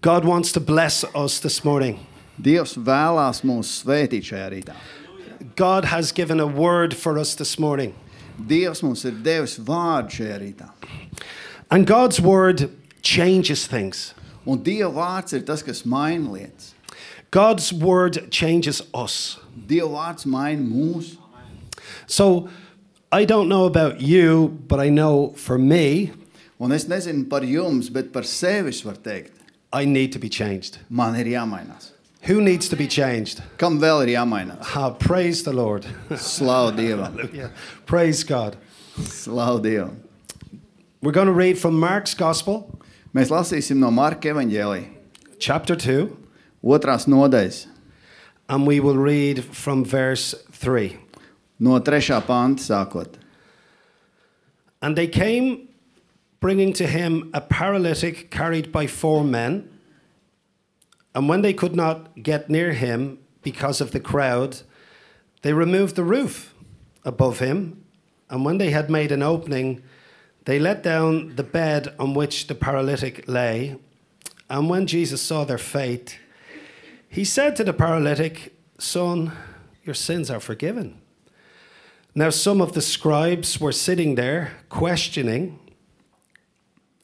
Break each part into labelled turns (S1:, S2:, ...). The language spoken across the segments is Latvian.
S1: God wants to bless us this morning.
S2: Dievs vēlās mūs svētīt šajā rītā.
S1: God has given a word for us this morning.
S2: Dievs mums ir devis vārdu šajā rītā.
S1: And God's word changes things.
S2: Un Dieva vārds ir tas, kas maina lietas.
S1: God's word changes us.
S2: Dieva vārds maina mūsu.
S1: So I don't know about you, but I know for me,
S2: Un es nezinu par jums, bet par sevi es varu teikt,
S1: I need to be changed.
S2: man ir jāmainās.
S1: Who needs to be changed?
S2: Kam vēl ir jāmainās?
S1: Ah, praise the Lord.
S2: Slavu Dievam!
S1: Yeah. Praise God.
S2: Slavu Dievam!
S1: We're going to read from Mark's Gospel,
S2: Mēs lasīsim no Marka evaņģēlīja,
S1: chapter 2,
S2: otrās nodaļas,
S1: and we will read from verse 3.
S2: no trešā panta sākot.
S1: And they came, bringing to him a paralytic carried by four men. And when they could not get near him because of the crowd, they removed the roof above him. And when they had made an opening, they let down the bed on which the paralytic lay. And when Jesus saw their faith, he said to the paralytic, Son, your sins are forgiven. Now, some of the scribes were sitting there, questioning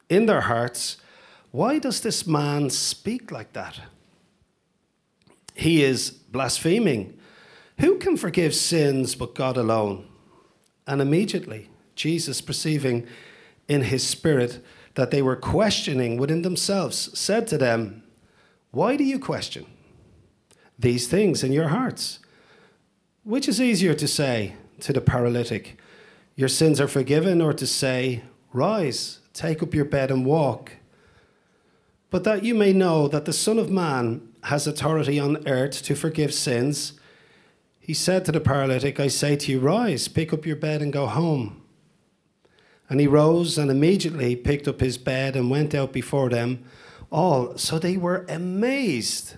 S1: in their hearts, Why does this man speak like that? He is blaspheming. Who can forgive sins but God alone? And immediately, Jesus, perceiving in his spirit that they were questioning within themselves, said to them, Why do you question these things in your hearts? Which is easier to say to the paralytic, Your sins are forgiven, or to say, Rise, take up your bed and walk? But that you may know that the Son of Man has authority on earth to forgive sins, he said to the paralytic, I say to you, Rise, pick up your bed and go home. And he rose and immediately picked up his bed and went out before them all. So they were amazed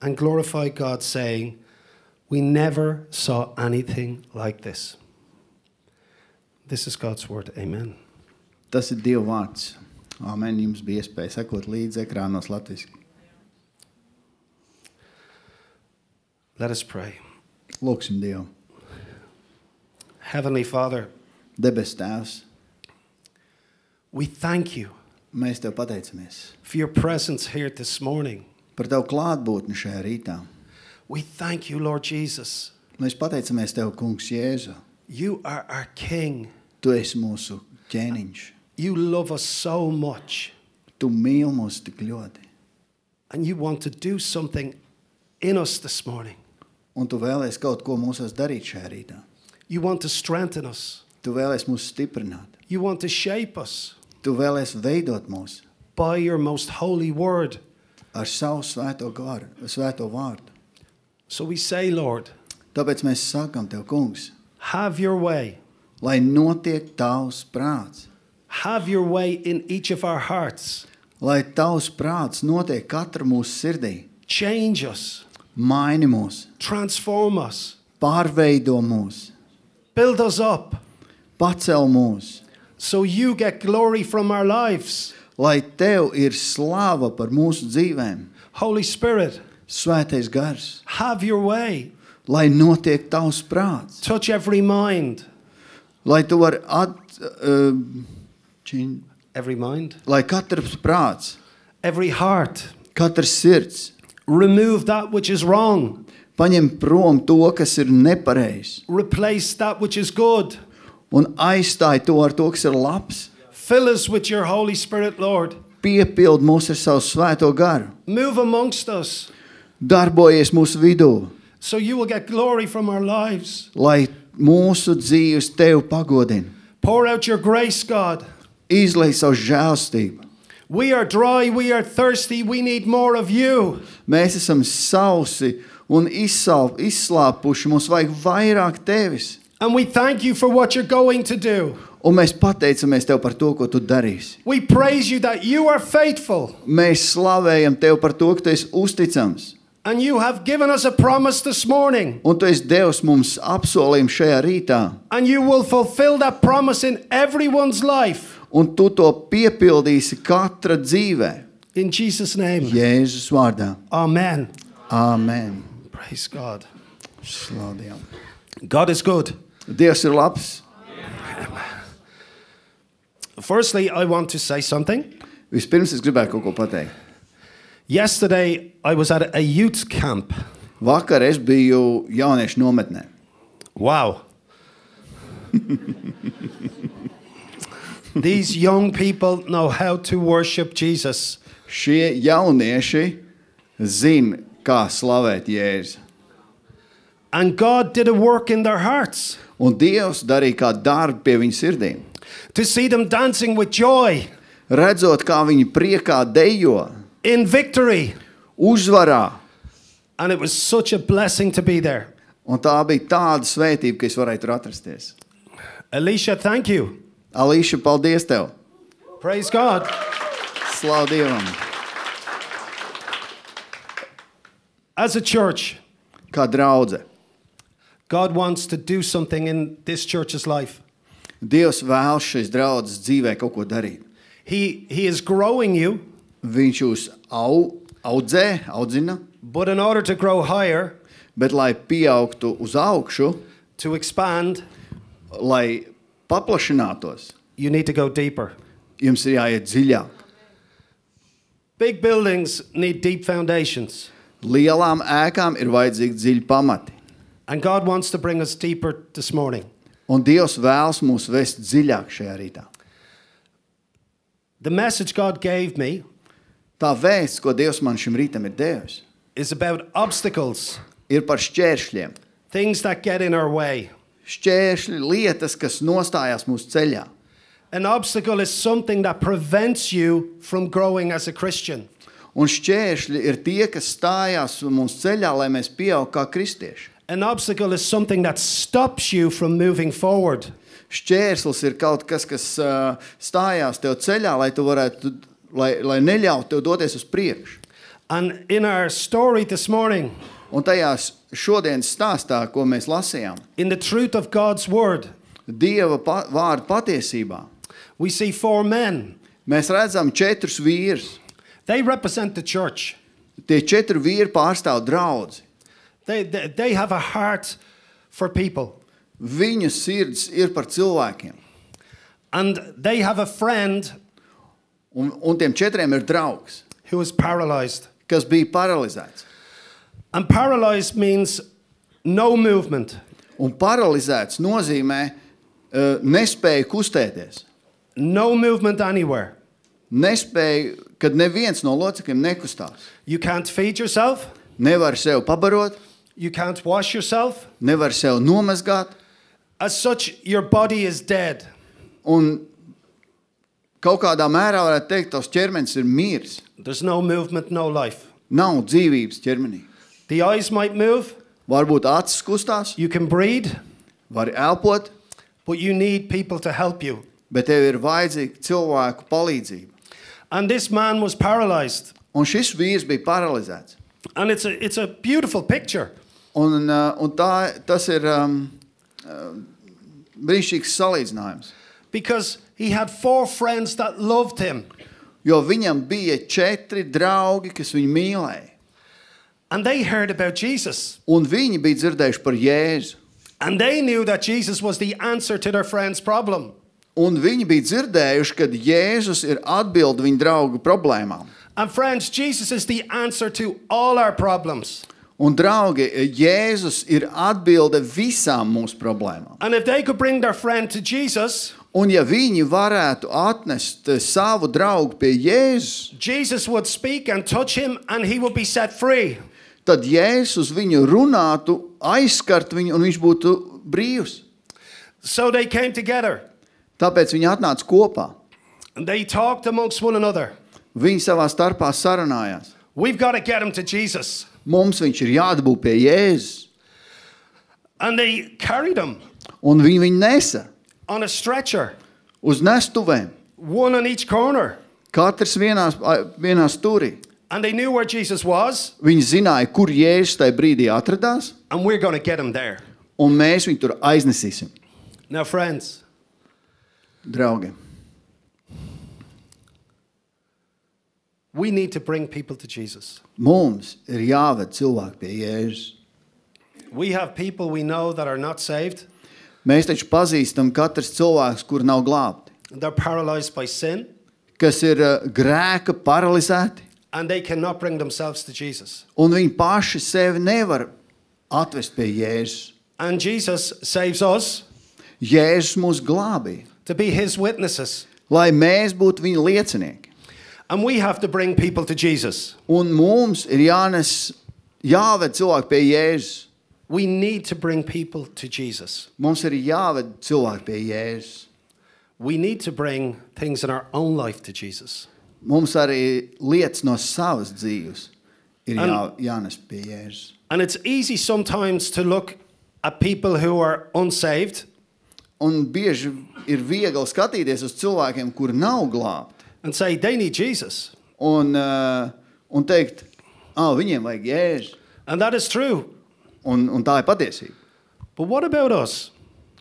S1: and glorified God, saying, we never saw anything like this. This is God's word. Amen.
S2: Tas ir Dieva vārds. Amen. Jums bija iespēja sekot līdzi ekrānos latviešu.
S1: Let us pray.
S2: Lūksim Dievu.
S1: Heavenly Father,
S2: Debes Tēvs,
S1: we thank you
S2: mēs te pateicamies
S1: for your presence here this morning.
S2: par Tavu klātbūtni šajā rītā.
S1: We thank you, Lord Jesus.
S2: Mēs pateicamies Tev, Kungs, Jēzu.
S1: You are our King.
S2: Tu esi mūsu ķēniņš.
S1: You love us so much,
S2: Tu mīli mūs tik ļoti,
S1: and you want to do something in us this morning.
S2: un Tu vēlēsi kaut ko mūsos darīt šajā rītā.
S1: You want to strengthen us,
S2: Tu vēlēsi mūs stiprināt,
S1: you want to shape us
S2: Tu vēlēsi veidot mūs
S1: by your most holy word.
S2: ar savu svēto, garu, svēto vārdu.
S1: So we say, Lord,
S2: Tāpēc mēs sakām Tev, Kungs,
S1: have your way.
S2: lai notiek Tavs prāts,
S1: Have your way in each of our hearts.
S2: lai Tavs prāts notiek katra mūsu sirdī.
S1: Change us,
S2: Maini mūs,
S1: transform us,
S2: pārveido mūs,
S1: build us up
S2: pacel mūs,
S1: so you get glory from our lives.
S2: lai Tev ir slāva par mūsu dzīvēm.
S1: Holy Spirit,
S2: Svētais gars,
S1: have your way.
S2: lai notiek tavs prāts,
S1: Touch every mind.
S2: lai tu vari atšķirt,
S1: Every mind?
S2: lai katrs prāts,
S1: Every heart.
S2: katrs sirds
S1: Remove that which is wrong.
S2: paņem prom to, kas ir nepareizs,
S1: Replace that which is good.
S2: un aizstāj to ar to, kas ir labs.
S1: Fill us with your Holy Spirit, Lord.
S2: Piepild mūs ar savu svēto garu,
S1: Move amongst us
S2: darbojies mūsu vidū,
S1: so you will get glory from our lives.
S2: lai mūsu dzīves tevi pagodina.
S1: Pour out your grace, God.
S2: Izlai savu žēlstību.
S1: We are dry, we are thirsty, we need more of you.
S2: Mēs esam sausi un izsāp, izslāpuši. Mums vajag vairāk tevis.
S1: And we thank you for what you're going to do.
S2: Un mēs pateicamies tev par to, ko tu darīsi.
S1: We praise you that you are faithful
S2: Mēs slavējam tevi par to, ka tu esi uzticams.
S1: and you have given us a promise this morning.
S2: Un tu esi devis mums apsolījumu šajā rītā.
S1: And you will fulfill that promise in everyone's life.
S2: Un tu to piepildīsi katra dzīvē.
S1: in Jesus' name.
S2: Jēzus vārdā.
S1: Amen.
S2: Āmen.
S1: Praise God.
S2: Slavējam.
S1: God is good.
S2: Dievs ir labs.
S1: Firstly, I want to say something.
S2: Vispirms es gribēju kaut ko pateikt.
S1: Yesterday, I was at a youth camp.
S2: Vakar es biju jauniešu nometnē.
S1: Wow. These young people know how to worship Jesus.
S2: Šie jaunieši zina, kā slavēt Jēzu.
S1: And God did a work in their hearts
S2: Un Dievs darīja kā darbu pie viņu sirdīm.
S1: to see them dancing with joy
S2: Redzot, kā viņi priekā dejo,
S1: in victory.
S2: uzvarā.
S1: And it was such a blessing to be there.
S2: Un tā bija tāda svētība, ka es varēju tur atrasties.
S1: Alicia, thank you.
S2: Alīša, paldies tev!
S1: Praise God.
S2: Slavu Dievam!
S1: As a church,
S2: Kā draudzene!
S1: God wants to do something in this church's life.
S2: Dievs vēlas šīs draudzes dzīvē kaut ko darīt.
S1: He, he is growing you,
S2: Viņš jūs au, audzē, audzina,
S1: but in order to grow higher,
S2: bet lai pieaugtu uz augšu,
S1: to expand,
S2: lai paplašinātos,
S1: you need to go deeper.
S2: jums ir jāiet dziļāk.
S1: Big buildings need deep foundations,
S2: Lielām ēkām ir vajadzīgi dziļi pamati,
S1: and God wants to bring us deeper this morning.
S2: un Dievs vēlas mūs vest dziļāk šajā rītā.
S1: The message God gave me
S2: Tā vēsts, ko Dievs man šim rītam ir devis,
S1: is about obstacles,
S2: ir par šķēršļiem.
S1: things that get in our way.
S2: Šķēršļi, lietas, kas nostājās mūsu ceļā.
S1: An obstacle is something that prevents you from growing as a Christian.
S2: Un šķēršļi ir tie, kas stājās mūsu ceļā, lai mēs pieaugtu kā kristieši.
S1: An obstacle is something that stops you from moving forward.
S2: Šķērslis ir kaut kas, kas ā, stājās tev ceļā, lai tu varētu, lai, lai neļautu tev doties uz priekšu.
S1: And in our story this morning,
S2: Un tajā s- šodienas stāstā, ko mēs lasījām,
S1: in the truth of God's word,
S2: Dieva pa, vārda patiesībā,
S1: we see four men.
S2: mēs redzam četrus vīrus.
S1: They represent the church.
S2: Tie četri vīri pārstāv draugu.
S1: They, they, they have a heart for people.
S2: Viņu sirds ir par cilvēkiem.
S1: And they have a friend
S2: Un, un tiem četriem ir draugs,
S1: who is paralyzed.
S2: kas bija paralizēts.
S1: And paralyzed means no movement,
S2: Un paralizēts nozīmē uh, nespēju kustēties.
S1: no movement anywhere.
S2: Nespēju, kad neviens no locekļiem nekustās.
S1: You can't feed yourself,
S2: Nevar sev pabarot,
S1: you can't wash yourself.
S2: nevar sev nomazgāt,
S1: As such, your body is dead.
S2: un kaut kādā mērā varētu teikt, tas ķermenis ir miris.
S1: There's no movement, no life.
S2: Nav dzīvības ķermenī.
S1: The eyes might move,
S2: Varbūt acis kustās,
S1: you can breathe,
S2: var elpot,
S1: but you need people to help you.
S2: bet tev ir vajadzīga cilvēku palīdzība.
S1: And this man was paralyzed.
S2: Un šis vīrs bija paralizēts.
S1: And it's a, it's a beautiful picture.
S2: Un, uh, un tā, tas ir um, um, brīnišķīgs salīdzinājums.
S1: because he had four friends that loved him
S2: Jo viņam bija četri draugi, kas viņu mīlēja.
S1: and they heard about Jesus
S2: Un viņi bija dzirdējuši par Jēzu.
S1: and they knew that Jesus was the answer to their friend's problem.
S2: Un viņi bija dzirdējuši, ka Jēzus ir atbilde viņu draugu problēmām.
S1: And friends, Jesus is the answer to all our problems.
S2: Un, draugi, Jēzus ir atbilde visām mūsu problēmām.
S1: And if they could bring their friend to Jesus,
S2: Un, ja viņi varētu atnest eh, savu draugu pie Jēzus,
S1: Jesus would speak and touch him and he would be set free.
S2: tad Jēzus viņu runātu, aizskart viņu, un viņš būtu brīvs.
S1: So they came together
S2: Tāpēc viņi atnāca kopā.
S1: and they talked amongst one another.
S2: Viņi savā starpā sarunājās.
S1: We've got to get him to Jesus.
S2: Mums viņš ir jādabū pie Jēzus,
S1: And they carried him
S2: un viņi viņu nesa
S1: on a stretcher,
S2: uz nestuvēm.
S1: one on each corner.
S2: Katrs vienā, vienā stūrī.
S1: And they knew where Jesus was.
S2: Viņi zināja, kur Jēzus tajā brīdī atradās,
S1: and we're going to get him there.
S2: un mēs viņu tur aiznesīsim.
S1: Now, friends,
S2: Draugi,
S1: We need to bring people to Jesus.
S2: Mums ir jāved cilvēki pie Jēzus.
S1: We have people we know that are not saved,
S2: Mēs taču pazīstam katrs cilvēks, kur nav glābti,
S1: they're paralyzed by sin,
S2: kas ir ā, grēka paralizēti,
S1: and they cannot bring themselves to Jesus.
S2: un viņi paši sevi nevar atvest pie Jēzus.
S1: And Jesus saves us
S2: Jēzus mūs glābīja,
S1: to be his witnesses.
S2: lai mēs būtu viņa liecinieki.
S1: And we have to bring people to Jesus.
S2: Un mums ir jānes, jāved cilvēki pie Jēzus.
S1: We need to bring people to Jesus.
S2: Mums ir jāved cilvēki pie Jēzus.
S1: We need to bring things in our own life to Jesus.
S2: Mums arī lietas no savas dzīves ir jā, jānes pie Jēzus.
S1: And it's easy sometimes to look at people who are unsaved
S2: Un bieži ir viegli skatīties uz cilvēkiem, kuri nav glābti,
S1: and say they need Jesus.
S2: un, uh, un teikt, ah, viņiem vajag jēzus.
S1: And that is true.
S2: Un, un tā ir patiesība.
S1: But what about us?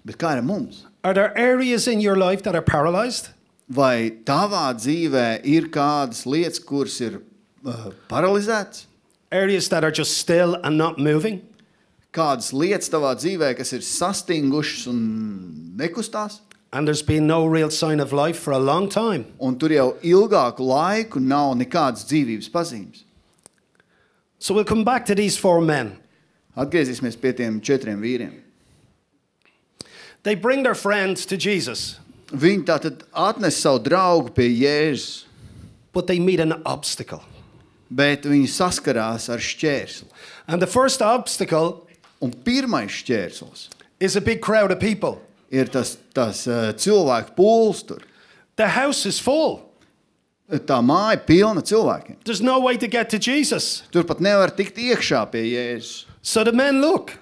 S2: Bet kā ir ar mums?
S1: Are there areas in your life that are paralyzed?
S2: Vai tavā dzīvē ir kādas lietas, kuras ir uh, paralizētas,
S1: Areas that are just still and not moving?
S2: kādas lietas tavā dzīvē, kas ir sastingušas un nekustās?
S1: And there's been no real sign of life for a long time.
S2: un tur jau ilgāku laiku nav nekādas dzīvības pazīmes.
S1: So we'll come back to these four men.
S2: Atgriezīsimies pie tiem četriem vīriem.
S1: They bring their friends to Jesus,
S2: Viņi tā tad atnesa savu draugu pie Jēzus,
S1: but they meet an obstacle.
S2: bet viņi saskarās ar šķērsli.
S1: And the first obstacle
S2: Un pirmais šķērslis
S1: is a big crowd of people.
S2: ir tas, tas eh, cilvēku pūls tur.
S1: The house is full.
S2: Tā māja ir pilna cilvēkiem.
S1: There's no way to get to Jesus.
S2: Tur pat nevar tikt iekšā pie Jēzus.
S1: So the men look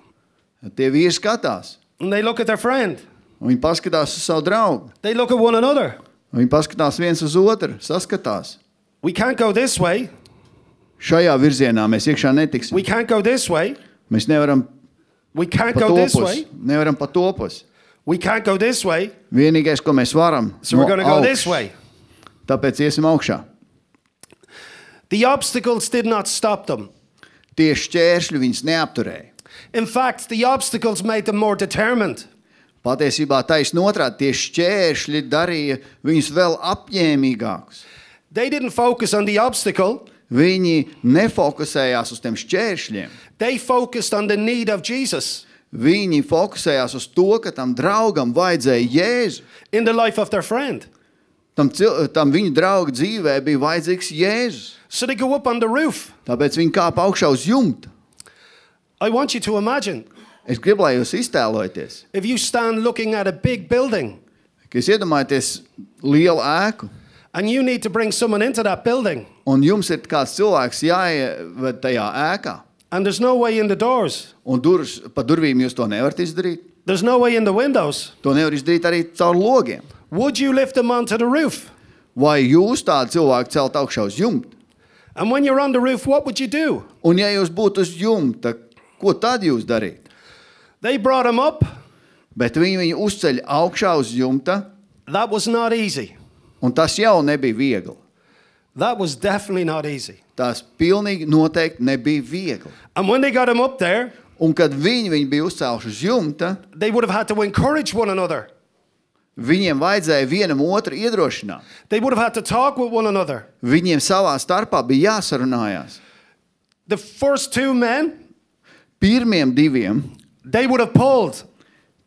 S2: Tie vīri skatās,
S1: and they look at their friend.
S2: un viņi paskatās uz savu draugu.
S1: They look at one another.
S2: Un Viņi paskatās viens uz otru, saskatās.
S1: We can't go this way.
S2: Šajā virzienā mēs iekšā netiksim.
S1: We can't go this way.
S2: Mēs nevaram
S1: We can't go this
S2: patopus.
S1: way.
S2: Nevaram patopus.
S1: We can't go this way.
S2: Vienīgais, ko mēs varam,
S1: So we're going to go this way.
S2: Tāpēc iesim augšā.
S1: The obstacles did not stop them.
S2: Tieši ķēršļi viņus neapturēja.
S1: In fact, the obstacles made them more determined.
S2: Patiesībā taisnība otrādi tieši ķēršļi darīja viņus vēl apņēmīgākus.
S1: They didn't focus on the obstacle,
S2: Viņi nefokusējās uz tiem šķēršļiem.
S1: they focused on the need of Jesus
S2: Viņi fokusējās uz to, ka tam draugam vajadzēja jēzu.
S1: in the life of their friend.
S2: Tam, cil- tam viņa drauga dzīvē bija vajadzīgs jēzus.
S1: So they go up on the roof.
S2: Tāpēc viņi kāpa augšā uz jumta.
S1: I want you to imagine
S2: Es gribu, lai jūs iztēlojaties,
S1: if you stand looking at a big building
S2: ka jūs iedomājaties lielu ēku.
S1: and you need to bring someone into that building
S2: Un jums ir kāds cilvēks jāievada tajā ēkā,
S1: and there's no way in the doors,
S2: un durvis, pa durvīm jūs to nevarat izdarīt.
S1: there's no way in the windows,
S2: To nevar izdarīt arī caur logiem.
S1: would you lift them onto the roof?
S2: Vai jūs tādu cilvēku celt augšā uz jumta?
S1: And when you're on the roof, what would you do?
S2: Un, ja jūs būtu uz jumta, ko tad jūs darītu?
S1: They brought him up.
S2: Bet viņi viņu uzceļ augšā uz jumta,
S1: That was not easy.
S2: un tas jau nebija viegli.
S1: That was definitely not easy.
S2: Tas pilnīgi noteikti nebija viegli.
S1: And when they got him up there,
S2: Un, kad viņi viņu bija uzcēluši uz jumta,
S1: they would have had to encourage one another.
S2: viņiem vajadzēja vienam otru iedrošināt.
S1: They would have had to talk with one another.
S2: Viņiem savā starpā bija jāsarunājās.
S1: The first two men,
S2: Pirmiem diviem
S1: they would have pulled.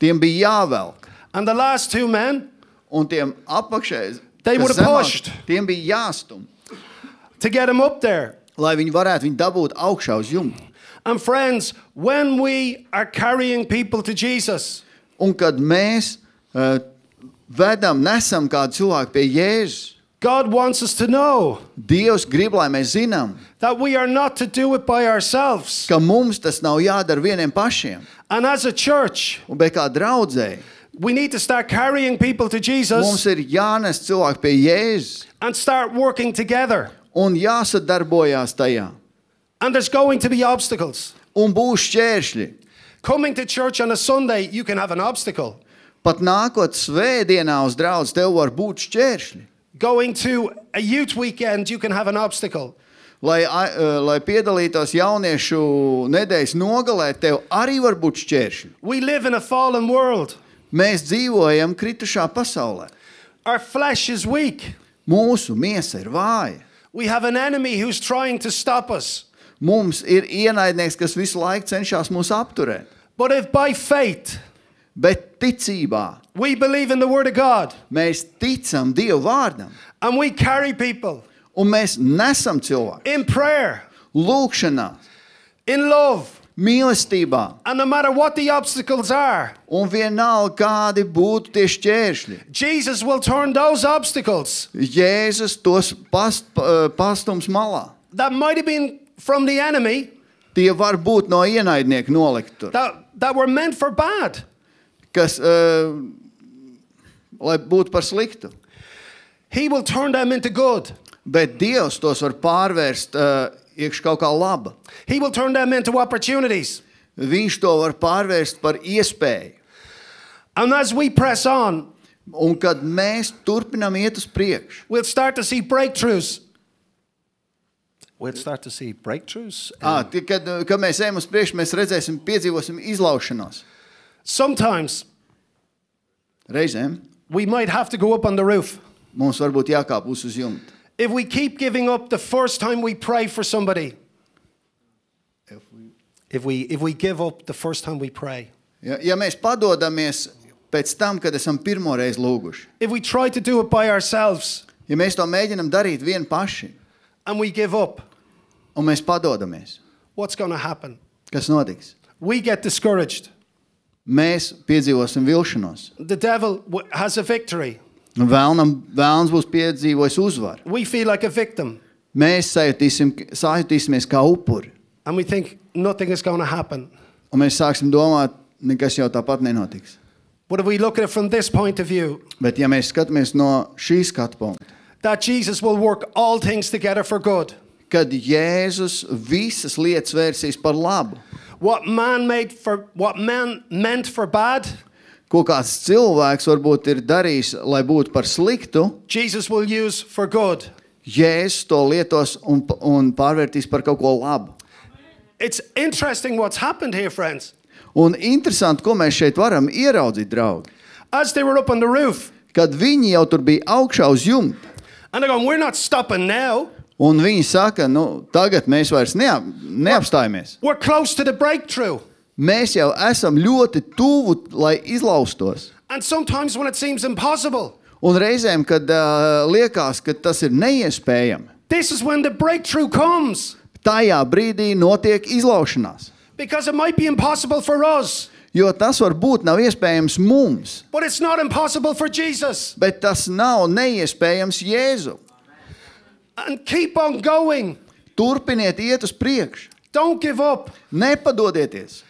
S2: Tiem bija jāvelk,
S1: And the last two men,
S2: un tiem apakšējais
S1: They
S2: kas
S1: would have
S2: zemāk,
S1: pushed.
S2: Tiem bija jāstum,
S1: to get him up there.
S2: lai viņi varētu viņu dabūt augšā uz jumta.
S1: And friends, when we are carrying people to Jesus,
S2: Un kad mēs uh, vedam, nesam kādu cilvēku pie Jēzus,
S1: God wants us to know
S2: Dievs grib, lai mēs zinām,
S1: that we are not to do it by ourselves.
S2: ka mums tas nav jādara vieniem pašiem.
S1: And as a church,
S2: Un, bet kā draudzēji,
S1: we need to start carrying people to
S2: mums
S1: Jesus
S2: ir jānes cilvēki pie Jēzus
S1: and start working together.
S2: un jāsadarbojās tajā.
S1: And there's going to be obstacles.
S2: Un būs šķēršļi.
S1: Coming to church on a Sunday, you can have an obstacle.
S2: Pat nākot svētdienā uz draugu, tev var būt šķēršļi.
S1: Going to a youth weekend, you can have an obstacle.
S2: Lai, a- eh, lai piedalītos jauniešu nedēļas nogalē, tev arī var būt šķēršļi.
S1: We live in a fallen world.
S2: Mēs dzīvojam kritušā pasaulē.
S1: Our flesh is weak.
S2: Mūsu miesa ir vāja.
S1: We have an enemy who's trying to stop us.
S2: Mums ir ienaidnieks, kas visu laiku cenšas mūs apturēt.
S1: But if by faith
S2: Bet ticībā
S1: we believe in the Word of God
S2: mēs ticam Dieva vārdam
S1: and we carry people
S2: un mēs nesam cilvēku.
S1: in prayer,
S2: Lūkšanā,
S1: in love,
S2: mīlestībā
S1: and no matter what the obstacles are,
S2: un vienalga, kādi būtu tie šķēršļi.
S1: Jesus will turn those obstacles
S2: Jēzus tos past, pa- pastums malā.
S1: that might have been from the enemy
S2: Tie var būt no ienaidnieka nolikti, tur,
S1: that, that were meant for bad.
S2: kas eh, lai būtu par sliktu.
S1: He will turn them into good.
S2: Bet Dievs tos var pārvērst eh, iekš kaut kā laba.
S1: He will turn them into opportunities.
S2: Viņš to var pārvērst par iespēju.
S1: And as we press on,
S2: Un kad mēs turpinām iet uz priekšu,
S1: we'll start to see breakthroughs. We'll start to see breakthroughs.
S2: À, kad, kad mēs ejam uz priekšu, mēs redzēsim, piedzīvosim izlaušanos.
S1: Sometimes
S2: Reizēm
S1: we might have to go up on the roof.
S2: mums varbūt jākāp uz uz jumta.
S1: If we keep giving up the first time we pray for somebody, if we, if we give up the first time we pray,
S2: Ja, ja mēs padodamies pēc tam, kad esam pirmo reizi lūguši,
S1: if we try to do it by ourselves
S2: ja mēs to mēģinām darīt vieni paši,
S1: and we give up,
S2: un mēs padodamies,
S1: what's going to happen?
S2: kas notiks?
S1: We get discouraged.
S2: Mēs piedzīvosim vilšanos.
S1: The devil w- has a victory.
S2: Vēlnam, vēlns būs piedzīvojis uzvaru.
S1: We feel like a victim
S2: Mēs sajutīsim, sajutīsimies kā upuri,
S1: and we think nothing is going to happen.
S2: un mēs sāksim domāt, nekas jau tāpat nenotiks.
S1: But if we look at it from this point of view,
S2: Bet, ja mēs skatāmies no šīs skatu punkta,
S1: that Jesus will work all things together for good.
S2: kad Jēzus visas lietas vērsīs par labu,
S1: What man made for what man meant for bad,
S2: ko kāds cilvēks varbūt ir darījis, lai būtu par sliktu,
S1: Jesus will use for good.
S2: Jēzus to lietos un, un pārvērtīs par kaut ko labu.
S1: It's interesting what's happened here, friends.
S2: Un interesanti, ko mēs šeit varam ieraudzīt, draugi.
S1: As they were up on the roof,
S2: Kad viņi jau tur bija augšā uz jumta,
S1: and they're going, We're not stopping now.
S2: un viņi saka, nu, tagad mēs vairs neap, neapstājamies.
S1: We're close to the breakthrough.
S2: Mēs jau esam ļoti tuvu, lai izlaustos.
S1: And sometimes when it seems impossible,
S2: Un reizēm, kad uh, liekas, ka tas ir neiespējami,
S1: this is when the breakthrough comes.
S2: tajā brīdī notiek izlaušanās.
S1: Because it might be impossible for us,
S2: Jo tas varbūt nav iespējams mums,
S1: but it's not impossible for Jesus.
S2: bet tas nav neiespējams Jēzu.
S1: And keep on going.
S2: Turpiniet iet uz priekšu,
S1: Don't give up.
S2: nepadodieties.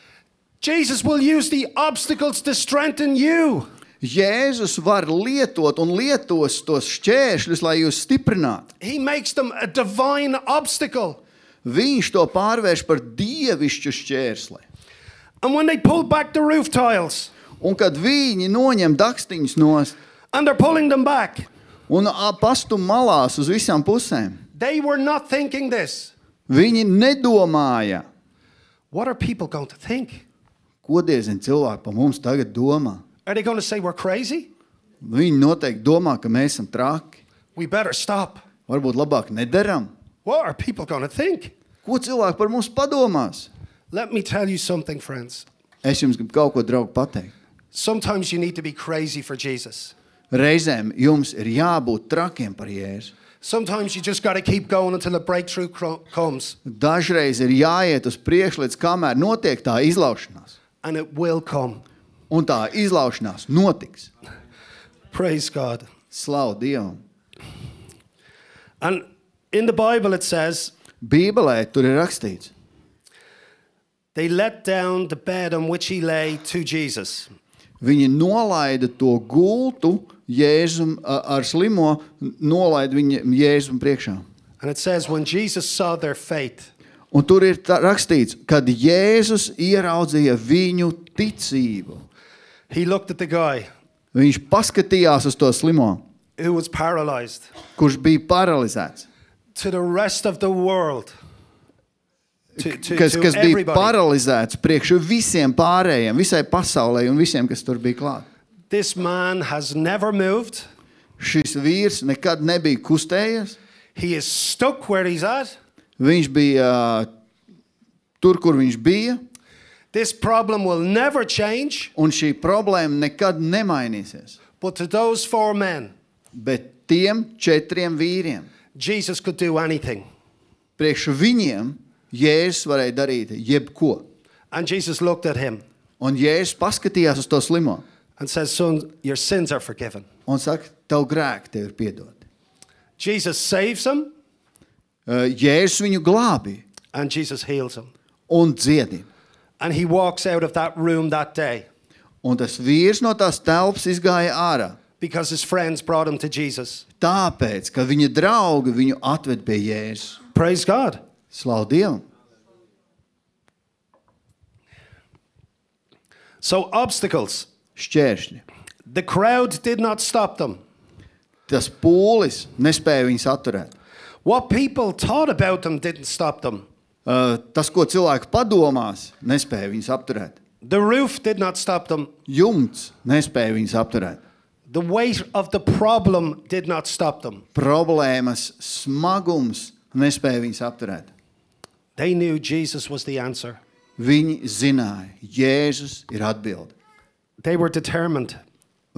S1: Jesus will use the obstacles to strengthen you.
S2: Jēzus var lietot un lietos tos šķēršļus, lai jūs stiprinātu.
S1: He makes them a divine obstacle.
S2: Viņš to pārvērš par dievišķu šķērsli.
S1: And when they pull back the roof tiles
S2: Un kad viņi noņem dakstiņus no
S1: and they're pulling them back,
S2: un pastu malās uz visām pusēm,
S1: they were not thinking this.
S2: viņi nedomāja,
S1: What are people going to think?
S2: ko diezgan cilvēki par mums tagad domā.
S1: Are they going to say we're crazy?
S2: Viņi noteikti domā, ka mēs esam traki.
S1: We better stop.
S2: Varbūt labāk nedaram.
S1: What are people going to think?
S2: Ko cilvēki par mums padomās?
S1: Let me tell you something, friends.
S2: Es jums gribu kaut ko draugu pateikt.
S1: Sometimes you need to be crazy for Jesus.
S2: Reizēm jums ir jābūt trakiem par jēzu.
S1: Sometimes you just got to keep going until a breakthrough cro- comes,
S2: Dažreiz ir jāiet uz priekšu, līdz kamēr notiek tā izlaušanās.
S1: and it will come.
S2: Un tā izlaušanās notiks.
S1: Praise God.
S2: Slavu Dievam!
S1: And in the Bible, it says,
S2: Bībelē tur ir rakstīts,
S1: They let down the bed on which he lay to Jesus.
S2: viņi nolaida to gultu jēzum a- ar slimo, nolaida viņu jēzum priekšā.
S1: And it says, When Jesus saw their faith,
S2: Un tur ir tā rakstīts, kad Jēzus ieraudzīja viņu ticību.
S1: he looked at the guy
S2: Viņš paskatījās uz to slimo
S1: who was paralyzed
S2: kurš bija paralizēts,
S1: to the rest of the world. To, to,
S2: kas,
S1: to
S2: kas bija
S1: everybody.
S2: paralizēts priekš visiem pārējiem, visai pasaulē un visiem, kas tur bija klāt.
S1: This man has never moved.
S2: Šis vīrs nekad nebija kustējies.
S1: He is stuck where he's at.
S2: Viņš bija ā, tur, kur viņš bija,
S1: This problem will never change.
S2: un šī problēma nekad nemainīsies.
S1: But to those four men,
S2: Bet tiem četriem vīriem,
S1: Jesus could do anything.
S2: priekš viņiem, Jēzus varēja darīt jebko.
S1: And Jesus looked at him
S2: Un Jēzus paskatījās uz to slimo
S1: and says, Son, your sins are forgiven.
S2: un saka, tev grēki tev ir piedoti.
S1: Jesus saves him
S2: Ā, Uh, Jēzus viņu glābīja
S1: and Jesus heals him.
S2: un dziedina.
S1: And he walks out of that room that day
S2: Un tas vīrs no tās telpas izgāja ārā.
S1: because his friends brought him to Jesus.
S2: Tāpēc, ka viņa draugi viņu atved pie Jēzus.
S1: Praise God.
S2: Slavu Dievam!
S1: So, obstacles.
S2: Šķēršļi!
S1: The crowd did not stop them.
S2: Tas pūlis nespēja viņus atturēt.
S1: What people thought about them didn't stop them.
S2: Uh, Tas, ko cilvēki padomās, nespēja viņus apturēt.
S1: The roof did not stop them.
S2: Jumts nespēja viņus apturēt.
S1: The weight of the problem did not stop them.
S2: Problēmas smagums nespēja viņus apturēt.
S1: They knew Jesus was the answer.
S2: Viņi zināja, Jēzus ir atbilde.
S1: They were determined.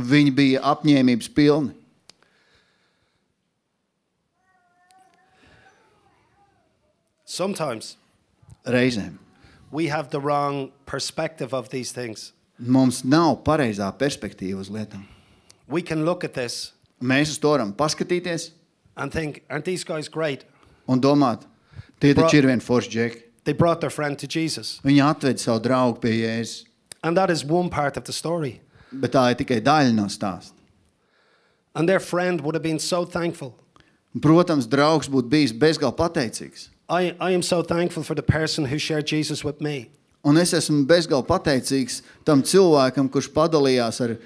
S2: Viņi bija apņēmības pilni.
S1: Sometimes
S2: Reizēm
S1: we have the wrong perspective of these things.
S2: mums nav pareizā perspektīva uz lietām.
S1: We can look at this
S2: Mēs uz to varam paskatīties
S1: and think, aren't these guys great?
S2: un domāt, tie taču ir vieni forši džeki.
S1: They brought their friend to Jesus.
S2: Viņi atved savu draugu pie Jēzus,
S1: And that is one part of the story.
S2: bet tā ir tikai daļa no stāsta.
S1: And their friend would have been so thankful.
S2: Protams, draugs būtu bijis bezgalīgi pateicīgs.
S1: I, I am so thankful for the person who shared Jesus with me.
S2: Un es esmu bezgalīgi pateicīgs tam cilvēkam, kurš padalījās ar,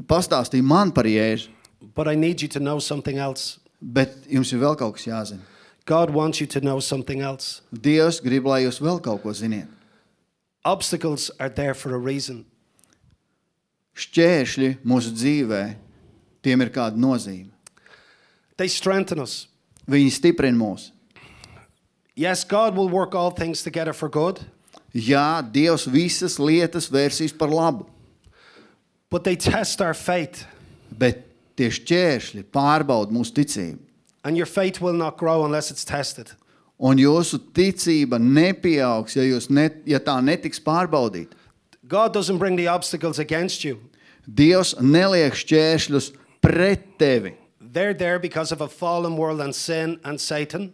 S2: pastāstīja man par jēzu.
S1: But I need you to know something else.
S2: Bet jums ir vēl kaut kas jāzina.
S1: God wants you to know something else.
S2: Dievs grib, lai jūs vēl kaut ko ziniet.
S1: Obstacles are there for a reason.
S2: Šķēršļi mūsu dzīvē, tiem ir kāda nozīme.
S1: They strengthen us.
S2: Viņi stiprina mūs.
S1: Yes, God will work all things together for good,
S2: Jā, Dievs visas lietas vērsīs par labu,
S1: but they test our faith,
S2: bet tie šķēršļi pārbauda mūsu ticību.
S1: and your faith will not grow unless it's tested.
S2: Un jūsu ticība nepieaugs, ja, jūs ne, ja tā netiks pārbaudīta.
S1: God doesn't bring the obstacles against you.
S2: Dievs neliek šķēršļus pret tevi.
S1: They're there because of a fallen world and sin and Satan,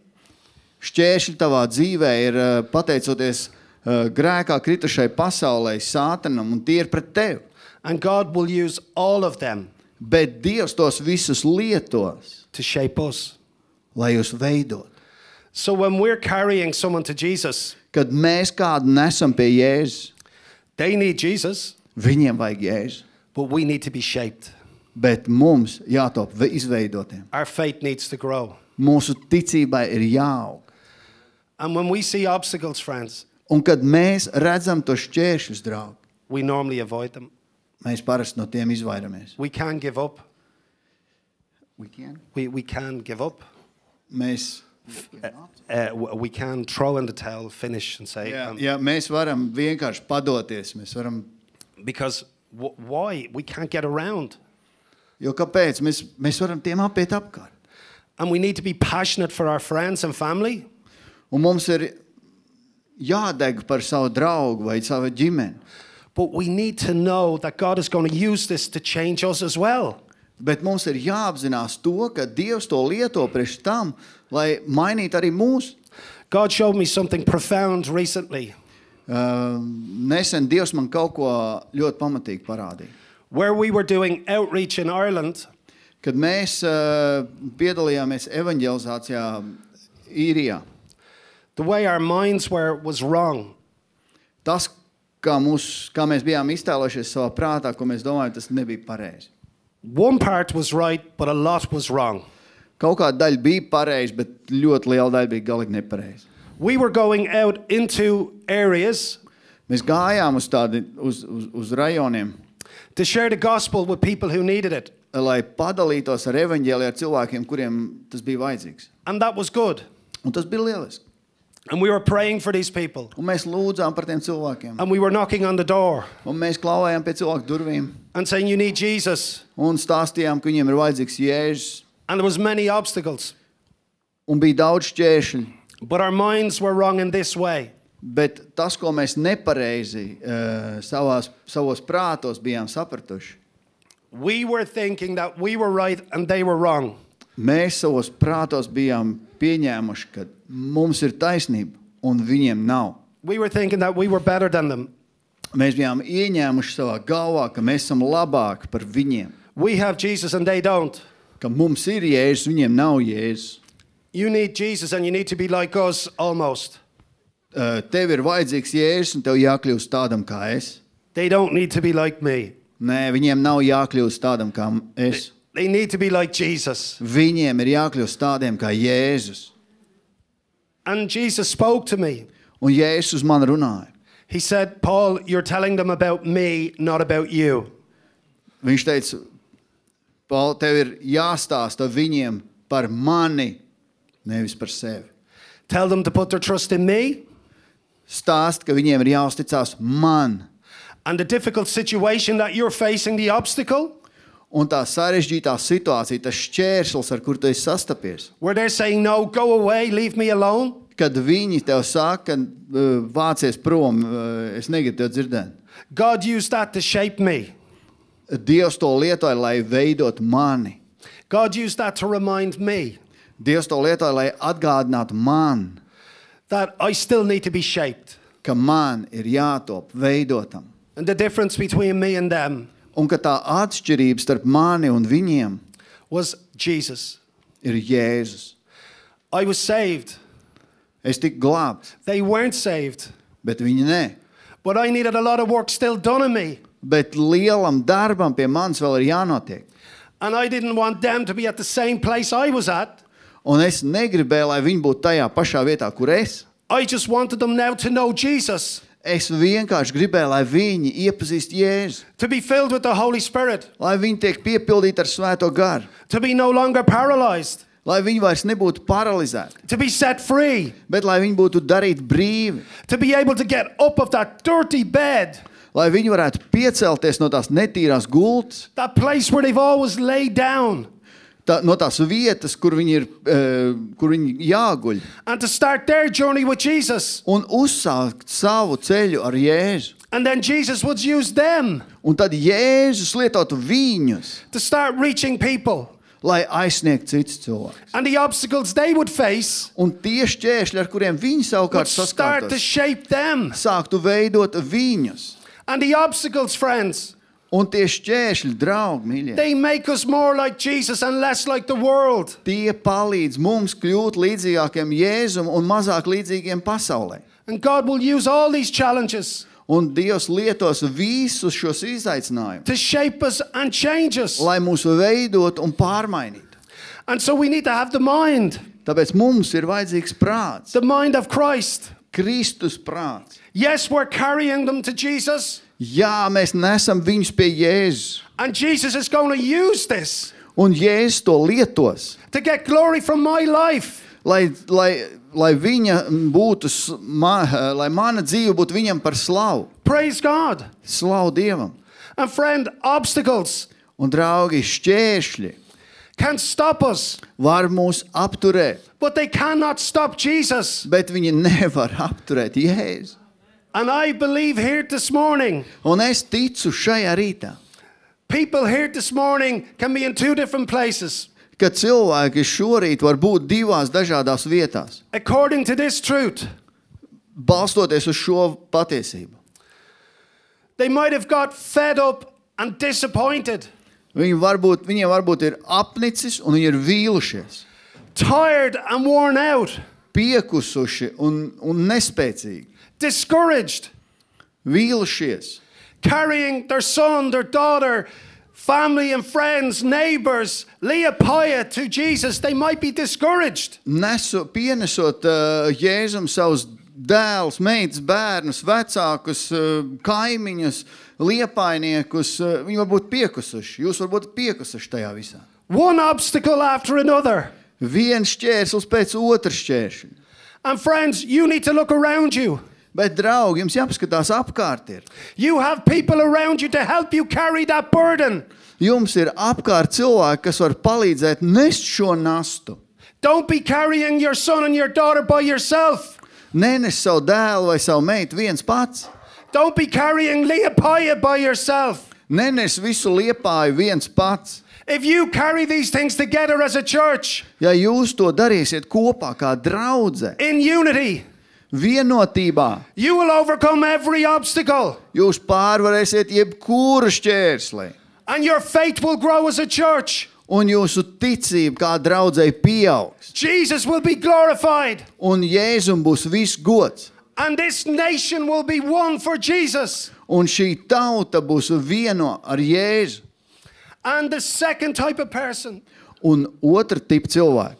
S2: Šķēršļi tavā dzīvē ir eh, pateicoties eh, grēkā kritušai pasaulē, sātanam, un tie ir pret tevi.
S1: and God will use all of them
S2: Bet Dievs tos visus lietos,
S1: to shape us.
S2: lai jūs veidot.
S1: So when we're carrying someone to Jesus,
S2: Kad mēs kādu nesam pie Jēzus,
S1: they need Jesus,
S2: viņiem vajag Jēzus.
S1: but we need to be shaped.
S2: Bet mums jātop ve- izveidotiem.
S1: Our faith needs to grow.
S2: Mūsu ticībai ir jāaug.
S1: And when we see obstacles, friends,
S2: Un kad mēs redzam to šķēršļus, draugi,
S1: we normally avoid them.
S2: mēs parasti no tiem izvairamies.
S1: We can give up. We, we can give up.
S2: Mēs,
S1: Uh, w- we can throw in the towel, finish, and say,
S2: jā,
S1: um,
S2: jā, mēs varam vienkārši padoties. Mēs varam,
S1: because w- why? We can't get around.
S2: jo kāpēc? Mēs, mēs varam tiem apiet apkārt.
S1: And we need to be passionate for our friends and family.
S2: Un mums ir jādeg par savu draugu vai savu ģimeni.
S1: But we need to know that God is going to use this to change us as well.
S2: Bet mums ir jāapzinās to, ka Dievs to lieto priekš tam, lai mainītu arī mūsu.
S1: God showed me something profound recently.
S2: Uh, nesen Dievs man kaut ko ļoti pamatīgi parādīja.
S1: Where we were doing outreach in Ireland,
S2: Kad mēs uh, piedalījāmies evanģelizācijā īrijā,
S1: the way our minds were was wrong.
S2: tas, kā, mūs, kā mēs bijām iztēlojušies savā prātā, ko mēs domājam, tas nebija pareizi.
S1: One part was right, but a lot was wrong.
S2: Kaut kāda daļa bija pareiza, bet ļoti liela daļa bija galīgi nepareiza.
S1: We were going out into areas
S2: Mēs gājām uz tādiem uz, uz, uz rajoniem,
S1: to share the gospel with people who needed it.
S2: lai padalītos ar evaņģēliju, ar cilvēkiem, kuriem tas bija vajadzīgs.
S1: And that was good.
S2: Un tas bija lieliski.
S1: And we were praying for these people.
S2: Un mēs lūdzām par tiem cilvēkiem.
S1: And we were knocking on the door
S2: Un mēs klauvējām pie cilvēku durvīm
S1: and saying, You need Jesus.
S2: un stāstījām, ka viņiem ir vajadzīgs jēzus.
S1: And there was many obstacles.
S2: Un bija daudz šķēršļu.
S1: But our minds were wrong in this way.
S2: Bet tas, ko mēs nepareizi uh, savās, savos prātos bijām sapratuši,
S1: We were thinking that we were right and they were wrong.
S2: mēs savos prātos bijām pieņēmuši, ka mums ir taisnība un viņiem nav.
S1: We were thinking that we were better than them.
S2: Mēs bijām ieņēmuši savā galvā, ka mēs esam labāki par viņiem,
S1: We have Jesus and they don't.
S2: ka mums ir jēzus, viņiem nav jēzus.
S1: You need Jesus and you need to be like us almost.
S2: Uh, Tev ir vajadzīgs jēzus, un tev jākļūst tādam kā es.
S1: They don't need to be like me.
S2: Nē, viņiem nav jākļūst tādam kā es.
S1: They need to be like Jesus.
S2: Viņiem ir jākļūst tādiem kā Jēzus.
S1: And Jesus spoke to me.
S2: Un Jēzus uz mani runāja.
S1: He said, Paul, you're telling them about me, not about you.
S2: Viņš teica, Paul, tev ir jāstāsta viņiem par mani, nevis par sevi.
S1: Tell them to put their trust in me
S2: Stāst, ka viņiem ir jāuzticas man.
S1: and the difficult situation that you're facing, the obstacle
S2: Un tā sarežģītā situācija, tas šķērslis, ar kuru tu esi sastapies,
S1: where they're saying, No, go away, leave me alone.
S2: kad viņi tev saka, ka e, vācies prom, uh, es negribu tevi dzirdēt.
S1: God used that to shape me.
S2: Dievs to lietoja, lai veidotu mani.
S1: God used that to remind me
S2: Dievs to lietoja, lai atgādinātu man,
S1: that I still need to be shaped.
S2: ka man ir jātop veidotam.
S1: And the difference between me and them
S2: Un ka tā atšķirība starp mani un viņiem
S1: was Jesus.
S2: ir Jēzus.
S1: I was saved.
S2: Es tiku glābts,
S1: They weren't saved.
S2: bet viņi nē.
S1: But I needed a lot of work still done on me.
S2: Bet lielam darbam pie manis vēl ir jānotiek.
S1: And I didn't want them to be at the same place I was at.
S2: Un es negribēju, lai viņi būtu tajā pašā vietā, kur es.
S1: I just wanted them now to know Jesus,
S2: Es vienkārši gribēju, lai viņi iepazīst Jēzu,
S1: to be filled with the Holy Spirit,
S2: lai viņi tiek piepildīti ar Svēto garu,
S1: to be no longer paralyzed,
S2: lai viņi vairs nebūtu paralizēti,
S1: to be set free,
S2: bet lai viņi būtu darīti brīvi,
S1: to be able to get up of that dirty bed,
S2: lai viņi varētu piecelties no tās netīrās gultas,
S1: that place where they've always laid down,
S2: tā, no tās vietas, kur viņi ir, eh, kur viņi jāguļ,
S1: and to start their journey with Jesus.
S2: un uzsākt savu ceļu ar Jēzu.
S1: And then Jesus would use them
S2: Un tad Jēzus lietotu viņus,
S1: to start reaching people.
S2: lai aizsniegtu citus cilvēkus.
S1: And the obstacles they would face
S2: Un tie šķēršļi, ar kuriem viņi
S1: would
S2: savukārt
S1: start to
S2: saskārās,
S1: shape them.
S2: sāktu veidot viņus.
S1: And the obstacles, friends,
S2: Un tie šķēršļi, draugi, mīļie,
S1: they make us more like Jesus and less like the world.
S2: tie palīdz mums kļūt līdzīgākiem Jēzum un mazāk līdzīgiem pasaulē.
S1: And God will use all these challenges
S2: Un Dievs lietos visus šos izaicinājumus,
S1: to shape us and change us.
S2: lai mūsu veidot un pārmainītu.
S1: And so we need to have the mind,
S2: Tāpēc mums ir vajadzīgs prāts,
S1: the mind of Christ.
S2: Kristus prāts.
S1: Yes, we're carrying them to Jesus,
S2: Jā, mēs nesam viņus pie Jēzus,
S1: and Jesus is going to use this
S2: un Jēzus to lietos.
S1: to get glory from my life.
S2: lai, lai, lai viņa būtu, s- ma, lai mana dzīve būtu viņam par slavu,
S1: Praise God.
S2: slavu Dievam.
S1: And friend, obstacles
S2: Un, draugi, šķēršļi
S1: can stop us,
S2: var mūs apturēt,
S1: but they cannot stop Jesus.
S2: bet viņi nevar apturēt Jēzu.
S1: And I believe here this morning,
S2: Un es ticu šajā rītā,
S1: people here this morning can be in two different places.
S2: ka cilvēki šorīt var būt divās dažādās vietās,
S1: According to this truth,
S2: balstoties uz šo patiesību.
S1: they might have got fed up and disappointed,
S2: Viņi varbūt, viņiem varbūt ir apnicis un viņi ir vīlušies,
S1: tired and worn out,
S2: piekusuši un, un nespēcīgi,
S1: discouraged,
S2: vīlušies.
S1: carrying their son, their daughter family and friends, neighbors, Leopoia to Jesus, they might be discouraged.
S2: Nesu, pienesot uh, Jēzum savus dēlus, meitas, bērnus, vecākus, uh, kaimiņus, liepainiekus. Uh, viņi varbūt piekusuši. Jūs varbūt piekusuši tajā visā.
S1: One obstacle after another.
S2: Viens šķērslis pēc otras šķēršļa.
S1: And friends, you need to look around you.
S2: Bet, draugi, jums jāpaskatās apkārt. Ir.
S1: You have people around you to help you carry that burden.
S2: Jums ir apkārt cilvēki, kas var palīdzēt nest šo nastu.
S1: Don't be carrying your son and your daughter by yourself.
S2: Nenes savu dēlu vai savu meitu viens pats.
S1: Don't be carrying Leopoia by yourself.
S2: Nenes visu liepāju viens pats.
S1: If you carry these things together as a church
S2: Ja jūs to darīsiet kopā, kā draudzē,
S1: in unity,
S2: vienotībā,
S1: you will overcome every obstacle
S2: jūs pārvarēsiet jebkuru šķērsli.
S1: and your faith will grow as a church.
S2: Un jūsu ticība kā draudzēji pieaugs.
S1: Jesus will be glorified
S2: Un Jēzum būs viss gods.
S1: and this nation will be one for Jesus.
S2: Un šī tauta būs vieno ar Jēzu.
S1: And the second type of person,
S2: Un otra tipa cilvēki.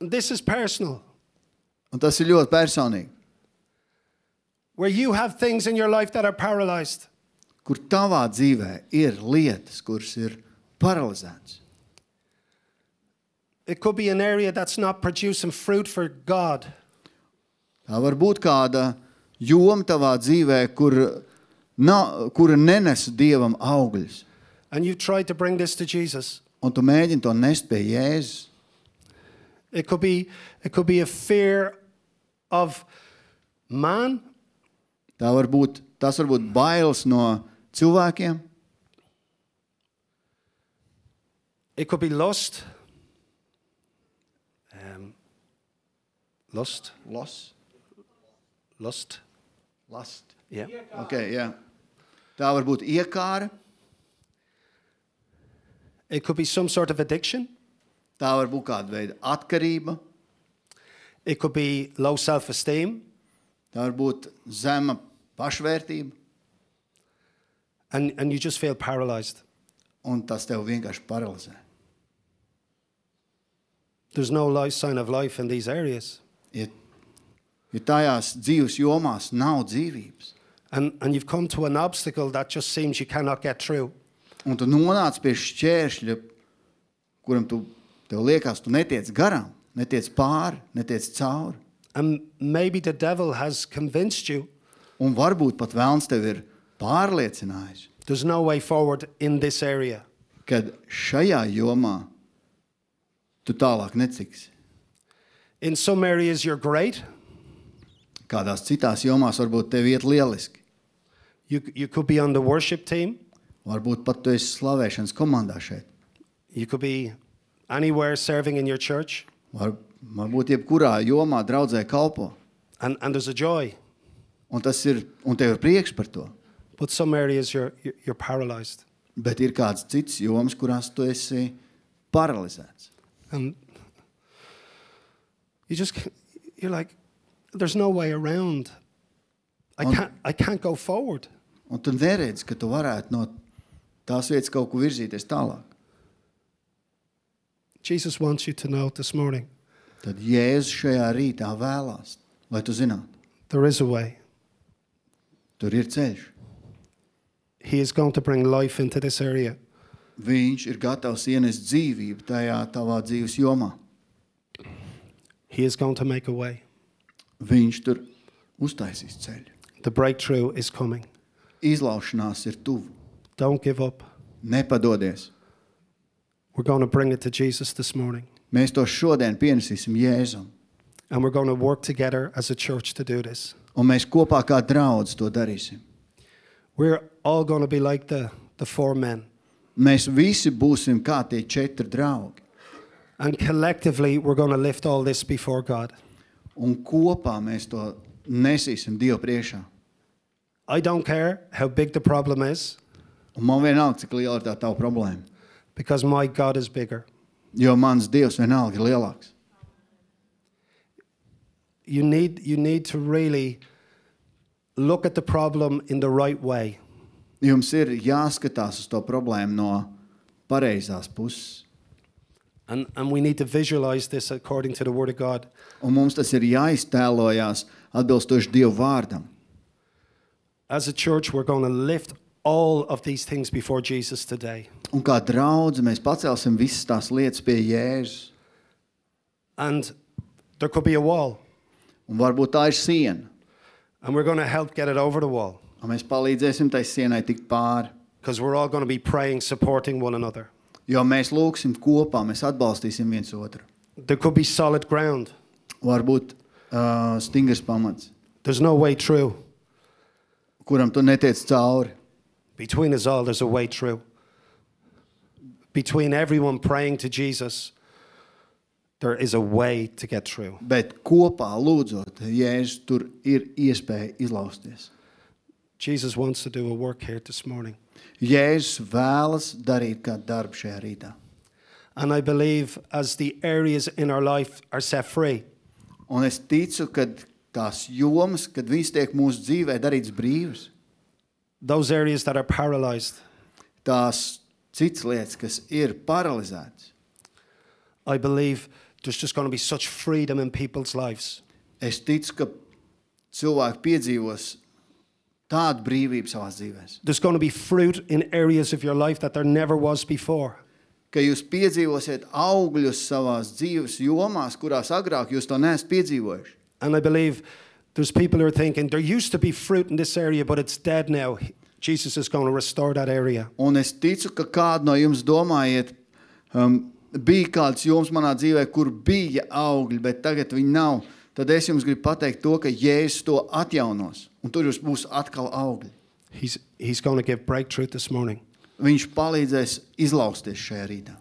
S1: and this is personal,
S2: Un tas ir ļoti personīgi.
S1: where you have things in your life that are paralyzed.
S2: Kur tavā dzīvē ir lietas, kuras ir paralizētas.
S1: It could be an area that's not producing fruit for God.
S2: Tā var būt kāda joma tavā dzīvē, kur, nav, kur nenes dievam augļus.
S1: And you've tried to bring this to Jesus.
S2: Un tu mēģini to nest pie Jēzus.
S1: It could be it could be a fear of man.
S2: Tā var būt, tas var būt bailes no cilvēkiem,
S1: It could be lust. Um, lust,
S2: Los,
S1: lust.
S2: last.
S1: Yeah.
S2: Okay, jā. Tā var būt iekāra,
S1: It could be some sort of addiction.
S2: tā var būt kāda veida atkarība,
S1: It could be low self-esteem,
S2: tā var būt zema pašvērtība,
S1: and, and you just feel paralyzed.
S2: un tas tev vienkārši paralizē.
S1: There's no life sign of life in these areas.
S2: Ja, ja tajās dzīves jomās nav dzīvības,
S1: And, and you've come to an obstacle that just seems you cannot get through.
S2: un tu nonāc pie šķēršļa, kuram tu tev liekas, tu netiec garām, netiec pāri, netiec cauri.
S1: And maybe the devil has convinced you
S2: Un varbūt pat vēlams tevi ir pārliecinājis,
S1: there's no way forward in this area.
S2: ka šajā jomā tu tālāk neciksi.
S1: In some areas, you're great.
S2: Kādās citās jomās varbūt tev iet lieliski.
S1: You, you could be on the worship team.
S2: Varbūt pat tu esi slavēšanas komandā šeit.
S1: You could be anywhere serving in your church.
S2: Var, varbūt jebkurā jomā draudzē kalpo.
S1: And, and there's a joy.
S2: Un, tas ir, un tev ir prieks par to.
S1: But some areas, you're, you're- you're paralyzed.
S2: Bet ir kāds cits joms, kurās tu esi paralizēts.
S1: And you just, c- you're like, there's no way around. I can't, I can't go forward.
S2: Un tu neredzi, ka tu varētu no tās vietas kaut kur virzīties tālāk.
S1: Jesus wants you to know this morning
S2: Tad Jēzus šajā rītā vēlās, lai tu zinātu,
S1: there is a way.
S2: tur ir ceļš.
S1: He is going to bring life into this area.
S2: Viņš ir gatavs ienest dzīvību tajā tavā dzīves jomā.
S1: He is going to make a way.
S2: Viņš tur uztaisīs ceļu.
S1: The breakthrough is coming.
S2: Izlaušanās ir tuvu.
S1: Don't give up.
S2: Nepadodies.
S1: We're going to bring it to Jesus this morning.
S2: Mēs to šodien pienesīsim Jēzum.
S1: And we're going to work together as a church to do this.
S2: Un mēs kopā kā draugi to darīsim.
S1: We're all going to be like the, the four men.
S2: Mēs visi būsim kā tie četri draugi.
S1: And collectively, we're going to lift all this before God.
S2: Un kopā mēs to nesīsim Dievu priekšā.
S1: I don't care how big the problem is,
S2: Un man vienalga, cik liela ir tā tava problēma.
S1: because my God is bigger.
S2: Jo mans Dievs vienalga ir lielāks.
S1: You need, you need to really look at the problem in the right way.
S2: Jums ir jāskatās uz to problēmu no pareizās puses.
S1: And, and we need to visualize this according to the Word of God.
S2: Un mums tas ir jāiztēlojas atbilstoši Dieva vārdam.
S1: As a church, we're going to lift all of these things before Jesus today.
S2: Un kā draugi mēs pacelsim visas tās lietas pie jēzus.
S1: And there could be a wall,
S2: Un varbūt tā ir siena.
S1: and we're going to help get it over the wall
S2: Un mēs palīdzēsim tai sienai tikt pāri.
S1: because we're all going to be praying, supporting one another.
S2: Jo mēs lūgsim kopā, mēs atbalstīsim viens otru.
S1: There could be solid ground.
S2: Varbūt uh, stingrs pamats,
S1: There's no way through.
S2: kuram tu netiec cauri.
S1: Between us all, there's a way through. Between everyone praying to Jesus, there is a way to get through.
S2: Bet kopā lūdzot, Jēzus, tur ir iespēja izlausties.
S1: Jesus wants to do a work here this morning.
S2: Jēzus vēlas darīt kādu darbu šajā rītā.
S1: And I believe as the areas in our life are set free,
S2: Un es ticu, ka tās jomas, kad viņas tiek mūsu dzīvē darītas brīvas,
S1: those areas that are paralyzed,
S2: tās citas lietas, kas ir paralizētas,
S1: I believe there's just going to be such freedom in people's lives.
S2: es ticu, ka cilvēki piedzīvos tādu brīvību savā dzīvē,
S1: There's going to be fruit in areas of your life that there never was before.
S2: ka jūs piedzīvosiet augļus savā dzīves jomās, kurās agrāk jūs to neesat piedzīvojuši.
S1: And I believe there's people who are thinking, there used to be fruit in this area, but it's dead now. Jesus is going to restore that area.
S2: Un es ticu, ka kādu no jums domājiet, um, bija kāds joms manā dzīvē, kur bija augļi, bet tagad viņi nav. Tad es jums gribu pateikt to, ka Jēzus to atjaunos, un tur jums būs atkal augļi.
S1: He's, he's going to give breakthrough this morning.
S2: Viņš palīdzēs izlausties šajā rītā.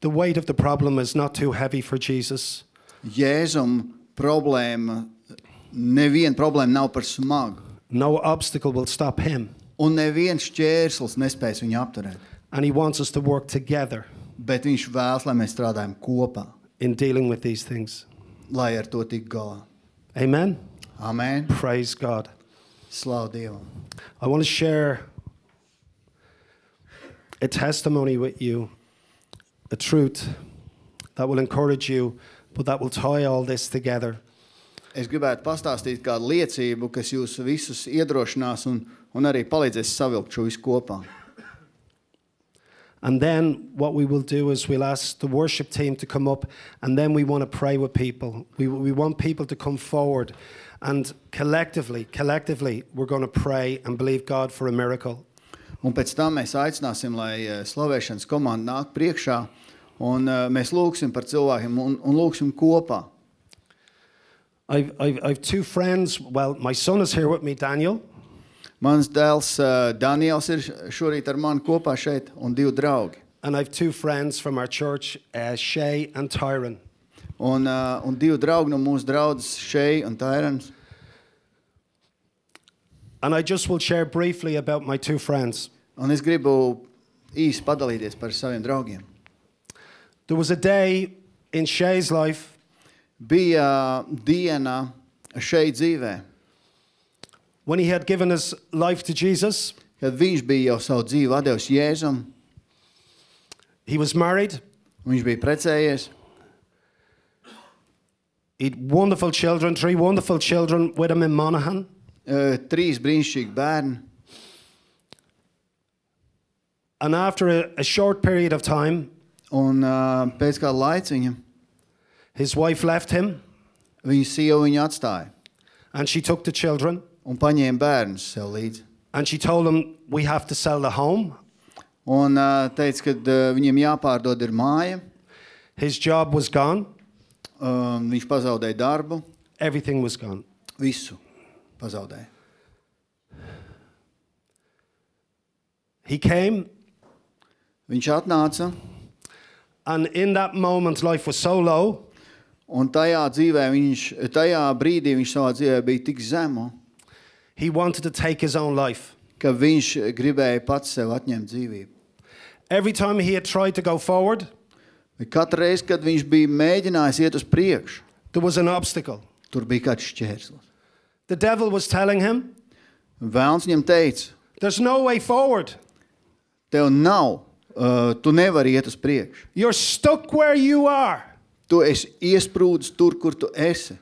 S1: The weight of the problem is not too heavy for Jesus.
S2: Jēzum problēma, neviena problēma nav par smagu,
S1: No obstacle will stop him.
S2: un neviens šķērslis nespēs viņu apturēt.
S1: And he wants us to work together
S2: Bet viņš vēlas, lai mēs strādājam kopā,
S1: in dealing with these things.
S2: lai ar to tiktu galā.
S1: Amen.
S2: Amen.
S1: Praise God.
S2: Slavu Dievam!
S1: I want to share a testimony with you, a truth that will encourage you, but that will tie all this together.
S2: Es gribētu pastāstīt kādu liecību, kas jūs visus iedrošinās un, un arī palīdzēs savilkt šo visu kopā.
S1: And then what we will do is we'll ask the worship team to come up, and then we want to pray with people. We, we want people to come forward, and collectively, collectively, we're going to pray and believe God for a miracle.
S2: Un pēc tam mēs aicināsim, lai eh, slavēšanas komanda nāk priekšā, un eh, mēs lūgsim par cilvēkiem un, un lūgsim kopā.
S1: I've, I've, I've two friends. Well, my son is here with me, Daniel,
S2: Mans dēls eh, Daniels ir š- šorīt ar mani kopā šeit, un divi draugi.
S1: and I've two friends from our church, uh, Shay and Tyron.
S2: Un, eh, un divi draugi no mūsu draugas šeit, un Tairans.
S1: And I just will share briefly about my two friends.
S2: Un es gribu īsi padalīties par saviem draugiem.
S1: There was a day in Shay's life
S2: Bija diena šeit dzīvēm.
S1: when he had given his life to Jesus.
S2: kad viņš bija jau savu dzīvi devis Jēzum,
S1: He was married,
S2: un viņš bija precējies.
S1: he had wonderful children, three wonderful children with him in Monaghan.
S2: eh, Trīs brīnišķīgi bērni.
S1: And after a, a short period of time,
S2: Un eh, pēc kāda laika viņa,
S1: his wife left him
S2: viņa sieva viņu atstāja
S1: and she took the children
S2: un paņēma bērnus sev līdzi.
S1: and she told him, We have to sell the home.
S2: Un eh, teica, ka eh, viņiem jāpārdod ir māja. e,
S1: His job was gone,
S2: Um, Viņš pazaudēja darbu,
S1: everything was gone.
S2: visu pazaudēja.
S1: He came,
S2: Viņš atnāca,
S1: and in that moment, life was so low.
S2: un tajā, dzīvē viņš, tajā brīdī viņš savā dzīvē bija tik zemu,
S1: He wanted to take his own life.
S2: ka viņš gribēja pats sev atņemt dzīvību.
S1: Every time he had tried to go forward,
S2: Katru reizi, kad viņš bija mēģinājis iet uz priekšu,
S1: there was an obstacle.
S2: Tur bija kāds šķērslis.
S1: The devil was telling him,
S2: Vēlns viņam teica,
S1: There's no way forward.
S2: Tev nav, uh, tu nevari iet uz priekšu.
S1: You're stuck where you are.
S2: Tu esi iesprūdis tur, kur tu esi.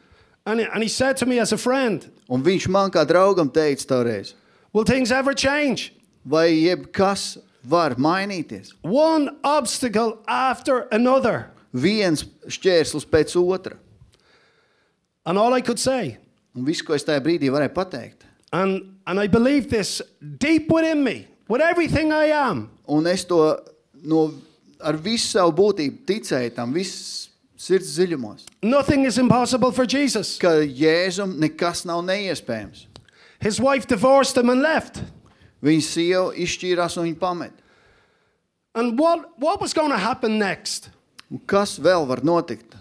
S1: And, and he said to me as a friend,
S2: Un viņš man kā draugam teica, toreiz,
S1: Will things ever change?
S2: vai jebkas var mainīties?
S1: One obstacle after another.
S2: Viens šķērslis pēc otra.
S1: And all I could say,
S2: Un viss, ko es tajā brīdī varēju pateikt,
S1: and, and I believe this deep within me, with everything I am,
S2: un es to no, ar visu savu būtību ticēju tam, visas sirds dziļumos,
S1: nothing is impossible for Jesus.
S2: ka Jēzum nekas nav neiespējams.
S1: His wife divorced him and left.
S2: Viņa sieva izšķīrās un viņa pameta.
S1: And what, what was going to happen next?
S2: Un Kas vēl var notikt?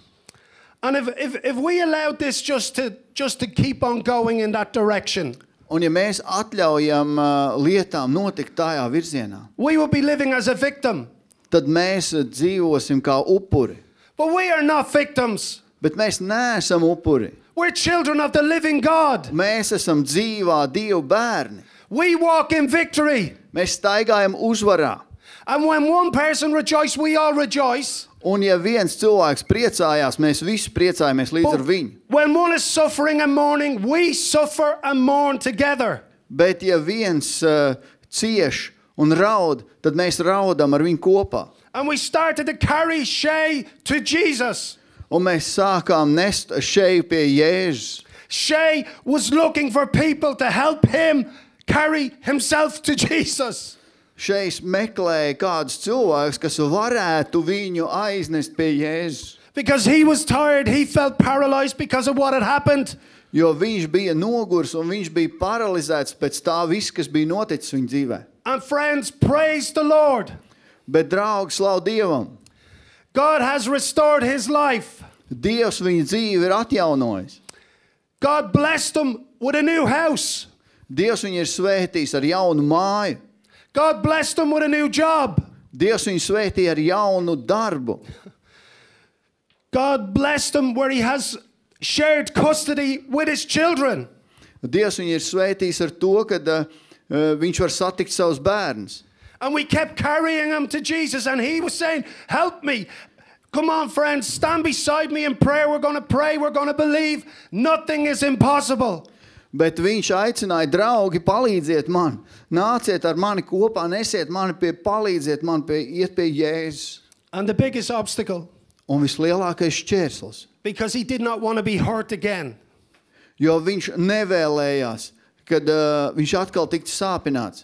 S1: And if, if, if we allowed this just to, just to keep on going in that direction,
S2: Un, ja mēs ļaujam uh, lietām notikt tādā virzienā,
S1: we would be living as a victim.
S2: tad mēs uh, dzīvosim kā upuri.
S1: But we are not victims.
S2: Bet mēs neesam upuri.
S1: We're children of the living God.
S2: Mēs esam dzīvā Dieva bērni.
S1: We walk in victory.
S2: Mēs staigājam uzvarā.
S1: And when one person rejoices, we all rejoice.
S2: Un, ja viens cilvēks priecājās, mēs visi priecājamies līdz ar viņu.
S1: when one is suffering and mourning, we suffer and mourn together.
S2: Bet, ja viens uh, cieš un raud, tad mēs raudam ar viņu kopā.
S1: And we started to carry Shay to Jesus.
S2: Un mēs sākām nest šeit pie Jēzus.
S1: Shay was looking for people to help him carry himself to Jesus.
S2: Šeit meklēja kādus cilvēkus, kas varētu viņu aiznest pie Jēzus.
S1: Because he was tired, he felt paralyzed because of what had happened.
S2: Jo viņš bija nogurs un viņš bija paralizēts pēc tā visa, kas bija noticis viņa dzīvē.
S1: And friends, praise the Lord.
S2: Bet, draugs, slavu Dievam!
S1: God has restored his life.
S2: Dievs viņa dzīvi ir atjaunojis.
S1: God blessed him with a new house.
S2: Dievs viņu ir svētījis ar jaunu māju.
S1: God blessed him with a new job.
S2: Dievs viņu svētīja ar jaunu darbu.
S1: God blessed him where he has shared custody with his children.
S2: Dievs viņu ir svētījis ar to, ka uh, viņš var satikt savus bērnus.
S1: And we kept carrying him to Jesus, and he was saying, Help me. Come on, friends, stand beside me in prayer. We're going to pray. We're going to believe. Nothing is impossible.
S2: Bet viņš aicināja, draugi, palīdziet man, nāciet ar mani kopā, nesiet mani pie, palīdziet man, pie, iet pie Jēzus.
S1: And the biggest obstacle,
S2: Un vislielākais šķērslis,
S1: because he did not want to be hurt again,
S2: jo viņš nevēlējās, kad uh, viņš atkal tiktu sāpināts.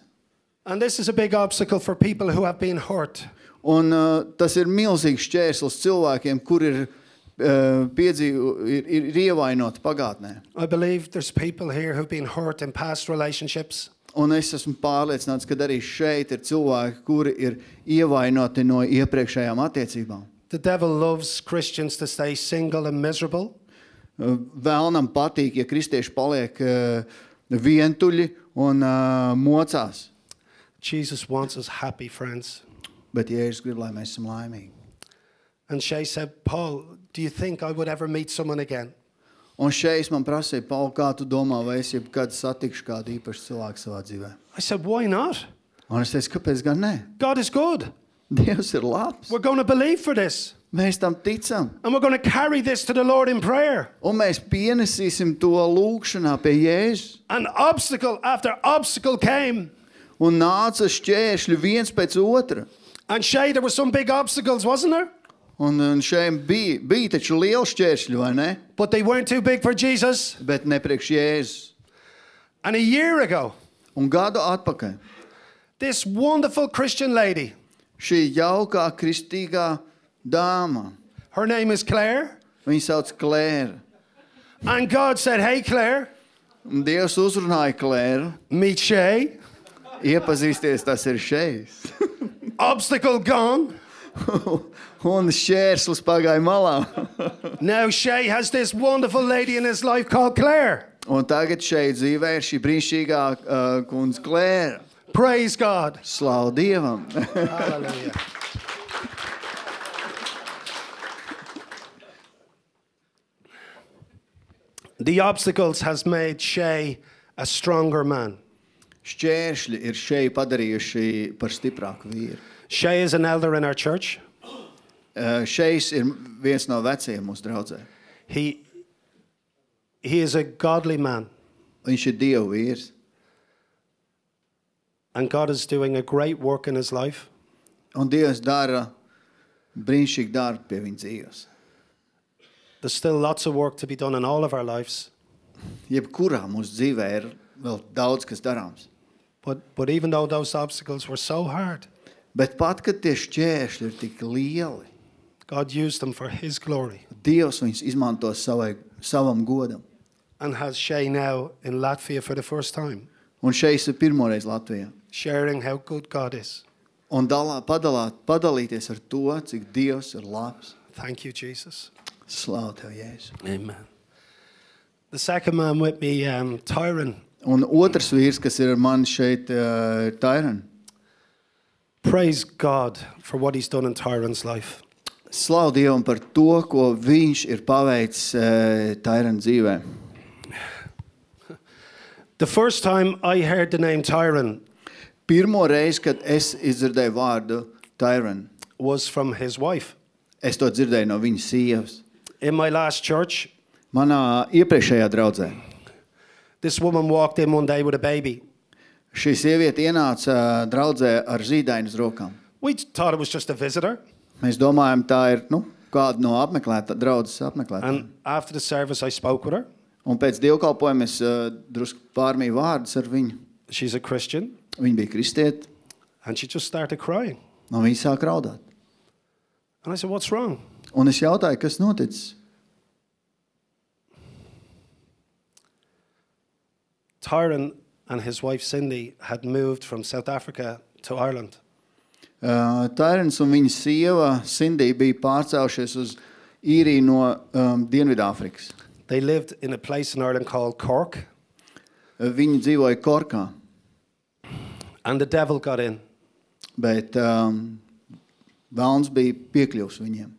S1: and this is a big obstacle for people who have been hurt,
S2: Un, uh, tas ir milzīgs šķērslis cilvēkiem, kur ir, uh, piedzīvo, ir, ir ievainoti pagātnē.
S1: I believe there's people here who've been hurt in past relationships.
S2: Un es esmu pārliecināts, ka arī šeit ir cilvēki, kuri ir ievainoti no iepriekšējām attiecībām.
S1: The devil loves Christians to stay single and miserable.
S2: Uh, Vēlnam patīk, ja kristieši paliek uh, vientuļi un uh, mocās.
S1: Jesus wants us happy, friends.
S2: Bet Jēzus grib, lai mēs esam laimīgi.
S1: And Shay said, Paul, do you think I would ever meet someone again?
S2: Un šeit man prasīja, Paul, kā tu domā, vai es jebkad satikšu kādu īpašu cilvēku savā dzīvē?
S1: I said, Why not?
S2: Un es teicu, kāpēc gan ne?
S1: God is good.
S2: Dievs ir labs.
S1: We're going to believe for this.
S2: Mēs tam ticam.
S1: And we're going to carry this to the Lord in prayer.
S2: Un mēs pienesīsim to lūgšanā pie Jēzus.
S1: And obstacle after obstacle came.
S2: Un nāca šķēršļi viens pēc otra.
S1: And Shay, there were some big obstacles, wasn't there?
S2: Un, un šiem bija, bija taču liela šķēršļa, vai ne?
S1: But they weren't too big for Jesus.
S2: Bet ne priekš Jēzus.
S1: And a year ago,
S2: Un gadu atpakaļ
S1: this wonderful Christian lady,
S2: šī jaukā kristīgā dāma,
S1: her name is Claire.
S2: viņas sauc Klēra.
S1: And God said, Hey, Claire,
S2: Un Dievs uzrunāja Klēru,
S1: meet Shay.
S2: iepazīsties, tas ir šeit.
S1: Obstacle gone.
S2: un šķērslis pagāja malā.
S1: Now Shay has this wonderful lady in his life called Claire.
S2: un tagad šeit dzīvē ir šī brīnišķīgā uh, kundze Klēra.
S1: Praise God.
S2: Slavu Dievam!
S1: Hallelujah. The obstacles has made Shay a stronger man.
S2: šķēršļi ir šeit padarījuši par stiprāku vīru.
S1: Shay is an elder in our church.
S2: Uh, Šeis ir viens no vecajiem mūsu draugiem.
S1: He, he is a godly man,
S2: Viņš ir Dieva vīrs.
S1: and God is doing a great work in his life.
S2: Un Dievs dara brīnišķīgu darbu pie viņa dzīves.
S1: There's still lots of work to be done in all of our lives,
S2: Jebkurā mūsu dzīvē ir vēl daudz kas darāms.
S1: but, but even though those obstacles were so hard,
S2: Bet pat, kad tie šķēršļi ir tik lieli,
S1: God used them for his glory
S2: Dievs viņus izmanto savai, savam godam.
S1: and has Shay now in Latvia for the first time,
S2: Un šeit ir pirmoreiz Latvijā.
S1: sharing how good God is.
S2: Un dalā, padalāt, padalīties ar to, cik Dievs ir labs.
S1: Thank you, Jesus.
S2: Slavu tev, Jēzu.
S1: Amen. The second man with me, um, Tyron,
S2: Un otrs vīrs, kas ir ar mani šeit, eh, ir Tairons.
S1: praise God for what he's done in Tyron's life.
S2: Slavu Dievam par to, ko viņš ir paveicis eh, Tairona dzīvē.
S1: The first time I heard the name Tyron
S2: Pirmo reizi, kad es izdzirdēju vārdu Tairona,
S1: was from his wife.
S2: es to dzirdēju no viņas sievas.
S1: In my last church,
S2: Manā iepriekšējā draudzē
S1: this woman walked in one day with a baby.
S2: šī sieviete ienāca eh, draudzē ar zīdainas rokām.
S1: We thought it was just a visitor.
S2: Mēs domājam, tā ir nu, kāda no apmeklētā, draudzes apmeklētājiem.
S1: And after the service, I spoke with her.
S2: Un pēc dievkalpojuma es uh, drusku pārmīju vārdus ar viņu.
S1: She's a Christian.
S2: Viņa bija kristieti,
S1: And she just started crying.
S2: un viņa sāka raudāt.
S1: And I said, What's wrong?
S2: Un es jautāju, kas noticis?
S1: Tyron and his wife Cindy had moved from South Africa to Ireland.
S2: Uh, Tairns un viņa sieva Sindija bija pārcēlušies uz īriju no um, Dienvidāfrikas.
S1: They lived in a place in Ireland called Cork,
S2: Uh, Viņi dzīvoja Korkā,
S1: and the devil got in.
S2: bet um, Vēlns bija piekļuvis viņiem.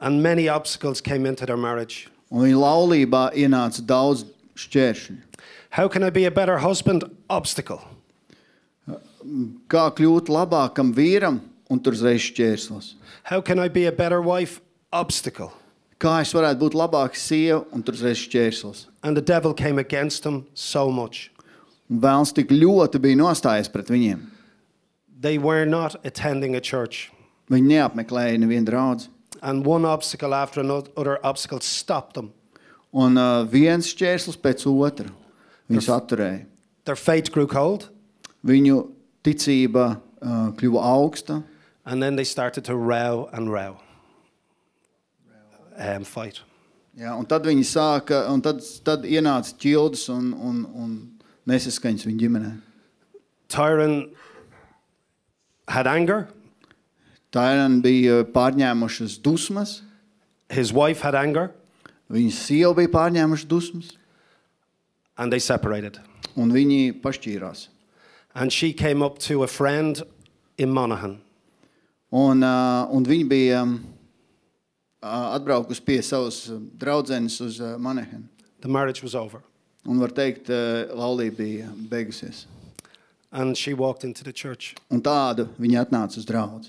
S1: And many obstacles came into their marriage.
S2: Un viņa laulībā ienāca daudz šķēršļu.
S1: How can I be a better husband? Obstacle.
S2: Kā kļūt labākam vīram, un tur uzreiz šķērslis.
S1: How can I be a better wife? Obstacle.
S2: Kā es varētu būt labāka sieva, un tur uzreiz šķērslis.
S1: And the devil came against them so much.
S2: Un Vēlns tik ļoti bija nostājies pret viņiem.
S1: They were not attending a church.
S2: Viņi neapmeklēja nevienu draugu.
S1: And one obstacle after another obstacle stopped them.
S2: Un uh, viens šķērslis pēc otra viņus atturēja.
S1: Their faith grew cold,
S2: Viņu ticība uh, kļuva augsta,
S1: and then they started to row and row. Um, fight.
S2: jā, un tad viņi sāka, un tad, tad ienāca ķildes un, un, un nesaskaņas viņa ģimenē.
S1: Tyron had anger,
S2: Tairani bija pārņēmušas dusmas,
S1: his wife had anger,
S2: viņas sieva bija pārņēmušas dusmas,
S1: and they separated.
S2: un viņi pašķīrās.
S1: And she came up to a friend in Monaghan.
S2: Un, uh, un viņi bija um, uh, atbraukusi pie savas um, draudzenes uz uh, Manehenu.
S1: The marriage was over.
S2: Un var teikt, uh, laulība bija beigusies.
S1: And she walked into the church.
S2: Un tādu viņi atnāca uz draugu.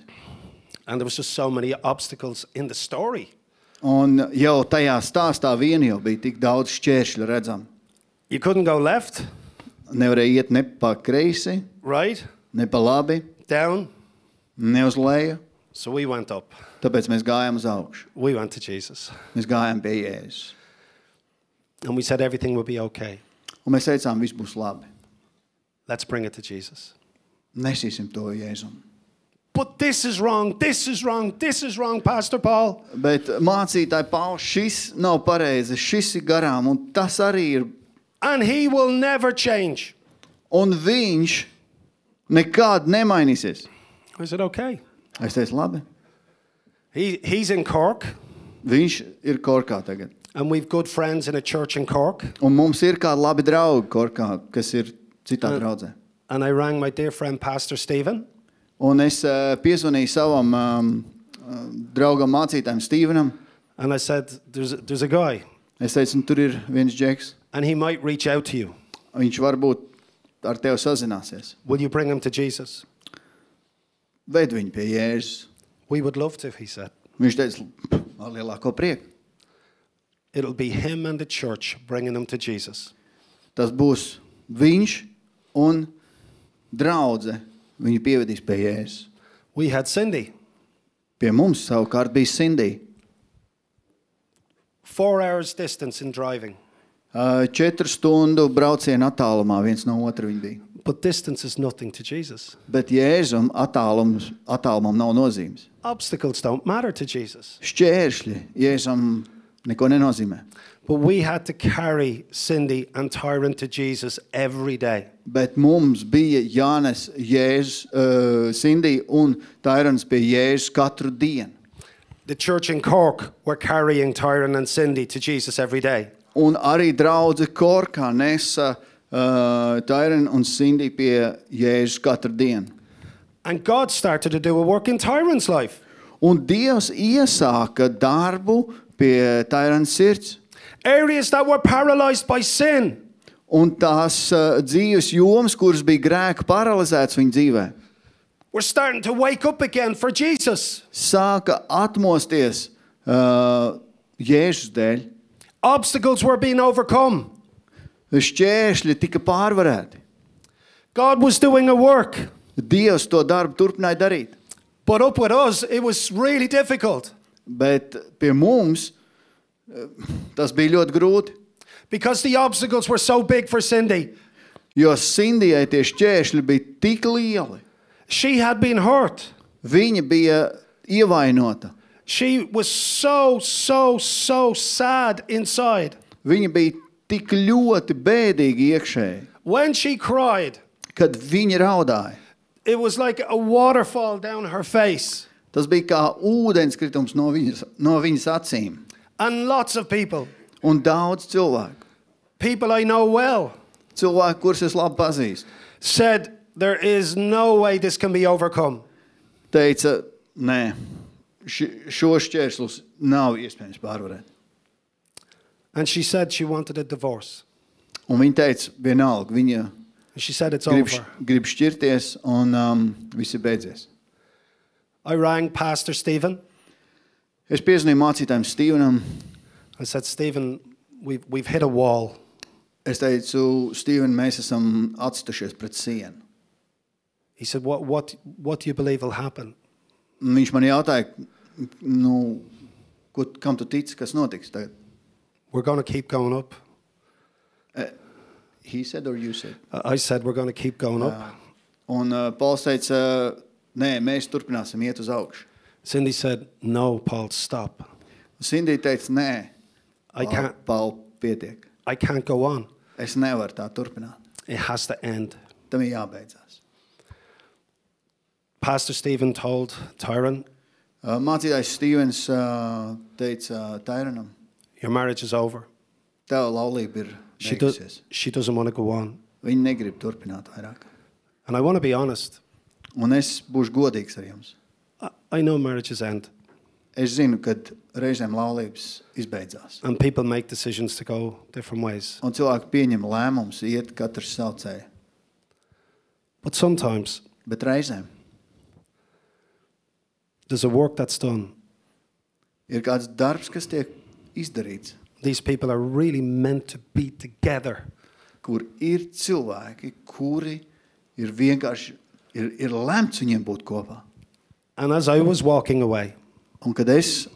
S1: And there was just so many obstacles in the story.
S2: Un jau tajā stāstā vien jau bija tik daudz šķēršļu redzama.
S1: You couldn't go left,
S2: Nevarēja iet ne pa kreisi,
S1: right,
S2: ne pa labi,
S1: down.
S2: ne uz leju.
S1: So we went up.
S2: Tāpēc mēs gājām uz augšu.
S1: We went to Jesus.
S2: Mēs gājām pie Jēzus.
S1: And we said everything will be okay.
S2: Un mēs teicām, viss būs labi.
S1: Let's bring it to Jesus.
S2: Nesīsim to Jēzum.
S1: But this is wrong. This is wrong. This is wrong, Pastor Paul.
S2: Bet mācītāji pauž, šis nav pareizi, šis ir garām, un tas arī ir.
S1: And he will never change.
S2: Un viņš nekad nemainīsies.
S1: I said, okay.
S2: Es teicu, labi.
S1: He, he's in Cork,
S2: Viņš ir korkā tagad.
S1: and we've good friends in a church in Cork.
S2: Un mums ir kādi labi draugi, korkā, kas ir citā draudzē.
S1: And I rang my dear friend, Pastor Stephen,
S2: Un es uh, piezvanīju savam um, um, draugam, mācītājam, Stevenam.
S1: and I said, there's, there's a guy,
S2: Es teicu, nu, tur ir viens džeks.
S1: and he might reach out to you.
S2: Viņš varbūt ar tevi sazināsies.
S1: Will you bring him to Jesus?
S2: Veid viņu pie Jēzus.
S1: We would love to, he said.
S2: Viņš teica, ar lielāko prieku.
S1: It'll be him and the church bringing him to Jesus.
S2: Tas būs viņš un draudzene. Viņu pievedīs pie Jēzus.
S1: We had Cindy,
S2: Pie mums savukārt bija Sindija.
S1: four hours distance in driving,
S2: Ā, Eh, Četru stundu brauciena attālumā viens no otra viņi bija.
S1: but distance is nothing to Jesus.
S2: Bet Jēzum attālums, attālumam nav nozīmes.
S1: Obstacles don't matter to Jesus.
S2: Šķēršļi Jēzum neko nenozīmē.
S1: But we had to carry Cindy and Tyron to Jesus every day.
S2: Bet mums bija Jānis, Jēzus, uh, Sindija un Tairons pie Jēzus katru dienu.
S1: The church in Cork were carrying Tyron and Cindy to Jesus every day.
S2: Un arī draudzene Korkā nesa uh, Taironu un Sindiju pie Jēzus katru dienu.
S1: And God started to do a work in Tyron's life.
S2: Un Dievs iesāka darbu pie Tairona sirds.
S1: Areas that were paralyzed by sin,
S2: Un tās uh, dzīves jomas, kuras bija grēka paralizētas viņa dzīvē,
S1: were starting to wake up again for Jesus.
S2: sāka atmosties uh, Jēzus dēļ.
S1: Obstacles were being overcome.
S2: Šķēršļi tika pārvarēti.
S1: God was doing a work.
S2: Dievs to darbu turpināja darīt.
S1: But up with us, it was really difficult
S2: Bet pie mums eh, tas bija ļoti grūti.
S1: because the obstacles were so big for Cindy.
S2: Jo Sindijai tie šķēršļi bija tik lieli.
S1: She had been hurt.
S2: Viņa bija ievainota.
S1: She was so, so, so sad inside.
S2: Viņa bija tik ļoti bēdīga iekšēji,
S1: When she cried,
S2: kad viņa raudāja.
S1: it was like a waterfall down her face.
S2: Tas bija kā ūdenskritums no viņas, no viņas acīm.
S1: And lots of people,
S2: Un daudz cilvēku,
S1: people I know well,
S2: cilvēku, kurus es labi pazīstu,
S1: said, There is no way this can be overcome.
S2: teica, nē, ši- šo šķērslus nav iespējams pārvarēt.
S1: And she said she wanted a divorce.
S2: Un viņa teica, vienalga, viņa
S1: And she said, It's
S2: grib,
S1: over.
S2: š- grib šķirties, un um, viss ir beidzies.
S1: I rang Pastor Stephen.
S2: Es piezvanīju mācītājam Stevenam.
S1: I said, Stephen, we've, we've hit a wall.
S2: Es teicu, Steven, mēs esam atstušies pret sienu.
S1: He said, What, what, what do you believe will happen?
S2: Un Viņš man jautāja, nu, ko, kam tu tici, kas notiks tagad?
S1: We're going to keep going up.
S2: E, He said, or you said.
S1: I I said, We're going to keep going up.
S2: Un uh, Pauls teica, nē, mēs turpināsim iet uz augšu.
S1: Cindy said, No, Paul, stop.
S2: Sindija teica, nē,
S1: I can't,
S2: Paul, pietiek.
S1: I can't go on.
S2: Es nevaru tā turpināt.
S1: It has to end.
S2: Tam ir jābeidzās.
S1: Pastor Stephen told Tyron,
S2: Uh, Mācītājs Stevens uh, teica Tairanam,
S1: Your marriage is over.
S2: tev laulība ir
S1: She, does,
S2: beigusies.
S1: she doesn't want to go on.
S2: Viņi negrib turpināt vairāk.
S1: And I want to be honest.
S2: Un es būšu godīgs ar jums.
S1: I, I know marriages end,
S2: Es zinu, ka reizēm laulības izbeidzās.
S1: and people make decisions to go different ways.
S2: Un cilvēki pieņem lēmumus, iet katrs savu ceļu.
S1: But sometimes
S2: Bet reizēm
S1: there's a work that's done.
S2: ir kāds darbs, kas tiek izdarīts,
S1: These people are really meant to be together.
S2: kur ir cilvēki, kuri ir vienkārši ir, ir lemts viņiem būt kopā.
S1: And as I was walking away,
S2: Un kad es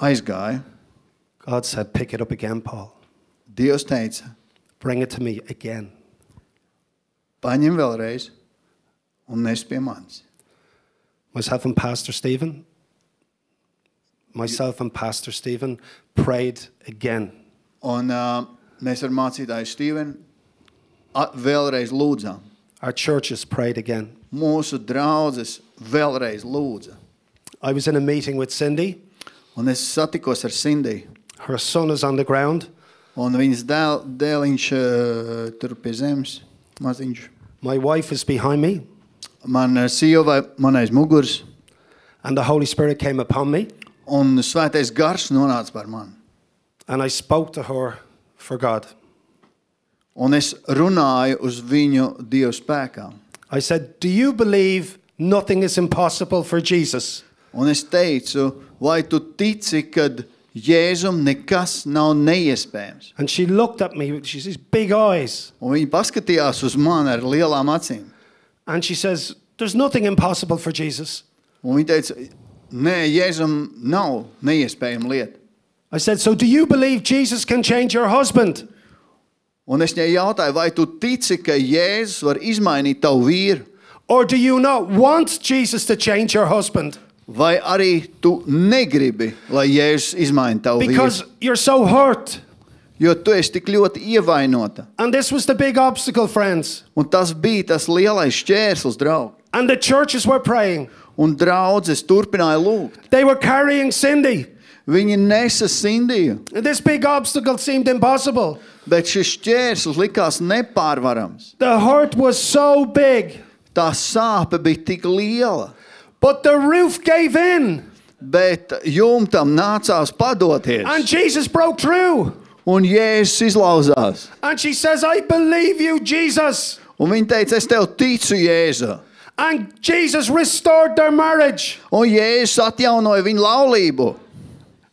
S2: aizgāju,
S1: God said, Pick it up again, Paul.
S2: Dievs teica,
S1: Bring it to me again.
S2: paņem vēlreiz un nes pie manis.
S1: Myself and Pastor Stephen, myself and Pastor Stephen prayed again.
S2: Un uh, mēs ar mācītāju Stīvenu a- vēlreiz lūdzām.
S1: Our churches prayed again.
S2: Mūsu draugs vēlreiz lūdza.
S1: I was in a meeting with Cindy.
S2: Un es satikos ar Sindiju.
S1: Her son is on the ground.
S2: Un viņas dēl, dēliņš uh, tur pie zemes maziņš.
S1: My wife is behind me,
S2: Man uh, sieva, man aiz muguras,
S1: and the Holy Spirit came upon me,
S2: un svētais gars nonāca par mani.
S1: and I spoke to her for God.
S2: un es runāju uz viņu dievu spēkā.
S1: I said, Do you believe nothing is impossible for Jesus?
S2: Un es teicu, vai tu tici, ka Jēzum nekas nav neiespējams?
S1: And she looked at me, she says, big eyes,
S2: Un viņi paskatījās uz mani ar lielām acīm.
S1: and she says, There's nothing impossible for Jesus.
S2: Un viņi teica, nē, Jēzum nav neiespējama lieta.
S1: I said, So do you believe Jesus can change your husband?
S2: Un es viņai jautāju, vai tu tici, ka Jēzus var izmainīt tavu vīru,
S1: Or do you not want Jesus to change your husband?
S2: vai arī tu negribi, lai Jēzus izmaina tavu
S1: Because
S2: vīru?
S1: you're so hurt.
S2: Jo tu esi tik ļoti ievainota.
S1: And this was the big obstacle, friends.
S2: Un tas bija tas lielais šķērslis, draugs.
S1: And the churches were praying.
S2: Un draudzes turpināja lūgt.
S1: They were carrying Cindy.
S2: Viņi nesa Sindiju,
S1: And This big obstacle seemed impossible.
S2: bet šis šķērslis likās nepārvarams.
S1: The hurt was so big.
S2: Tā sāpe bija tik liela,
S1: But the roof gave in.
S2: bet jumtam nācās
S1: And
S2: padoties.
S1: Jesus broke through.
S2: Un Jēzus izlauzās.
S1: And she says, I believe you, Jesus.
S2: Un viņa teica, es tev ticu, Jēzu.
S1: And Jesus restored their marriage.
S2: Un Jēzus atjaunoja viņu laulību.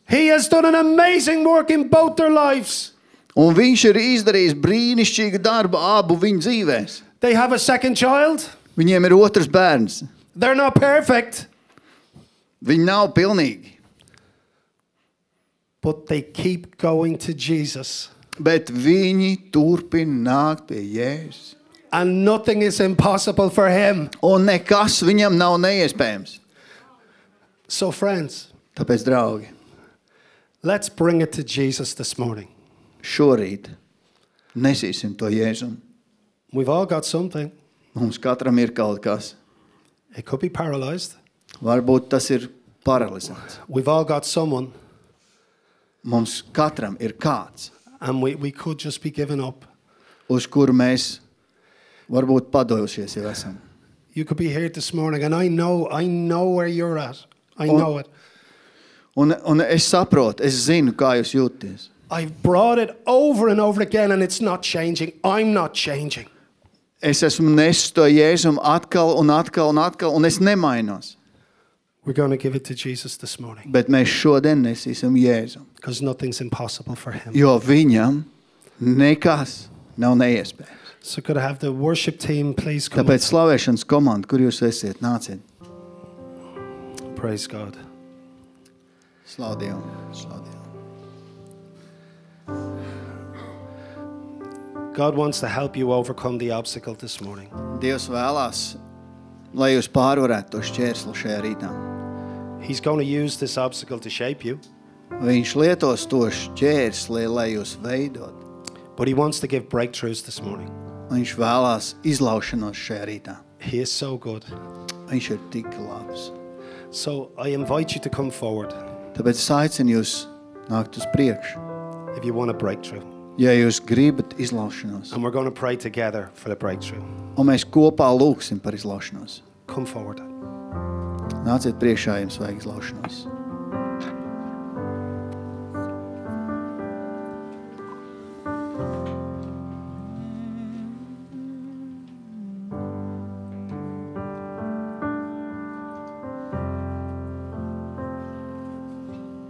S1: He has done an amazing work in both their lives.
S2: Un viņš ir izdarījis brīnišķīgu darbu abu viņu dzīvēm.
S1: They have a second child.
S2: Viņiem ir otrs bērns.
S1: They're not perfect,
S2: Viņi nav pilnīgi,
S1: but they keep going to Jesus.
S2: bet viņi turpina nākt pie Jēzus.
S1: And nothing is impossible for him.
S2: Un nekas viņam nav neiespējams.
S1: So, friends,
S2: Tāpēc, draugi,
S1: let's bring it to Jesus this morning.
S2: šorīt nesīsim to Jēzum.
S1: We've all got something.
S2: Mums katram ir kaut kas.
S1: It could be paralyzed.
S2: Varbūt tas ir paralizēts.
S1: We've all got someone,
S2: Mums katram ir kāds,
S1: and we, we could just be given up.
S2: uz kuru mēs varbūt padojušies jau esam.
S1: You could be here this morning, and I know, I know where you're at. I know it.
S2: Un, un es saprotu, es zinu, kā jūs jūties.
S1: I've brought it over and over again, and it's not changing. I'm not changing.
S2: Es esmu nesis to jēzumu atkal un atkal un atkal, un es nemainos.
S1: We're going to give it to Jesus this morning
S2: Bet mēs šodien nesīsim jēzumu,
S1: because nothing's impossible for him.
S2: jo viņam nekas nav neiespējams.
S1: So, could I have the worship team please come?
S2: Tāpēc slavēšanas komanda, kur jūs esat, nāciet.
S1: up? Praise God.
S2: Slavu Dievu! slavu Dievu.
S1: God wants to help you overcome the obstacle this morning.
S2: Dievs vēlās, lai jūs pārvarētu to šķērsli šajā rītā.
S1: He's going to use this obstacle to shape you,
S2: Viņš lietos to šķērsli, lai jūs veidot.
S1: but He wants to give breakthroughs this morning.
S2: Viņš vēlās izlaušanos šajā rītā.
S1: He is so good.
S2: Viņš ir tik labs.
S1: So, I invite you to come forward
S2: Tāpēc es aicinu jūs nākt uz priekšu.
S1: if you want a breakthrough.
S2: Ja jūs gribat izlaušanos,
S1: And we're going to pray together for the breakthrough.
S2: un mēs kopā lūgsim par izlaušanos,
S1: Come forward.
S2: nāciet priekšā, jums vajag izlaušanos.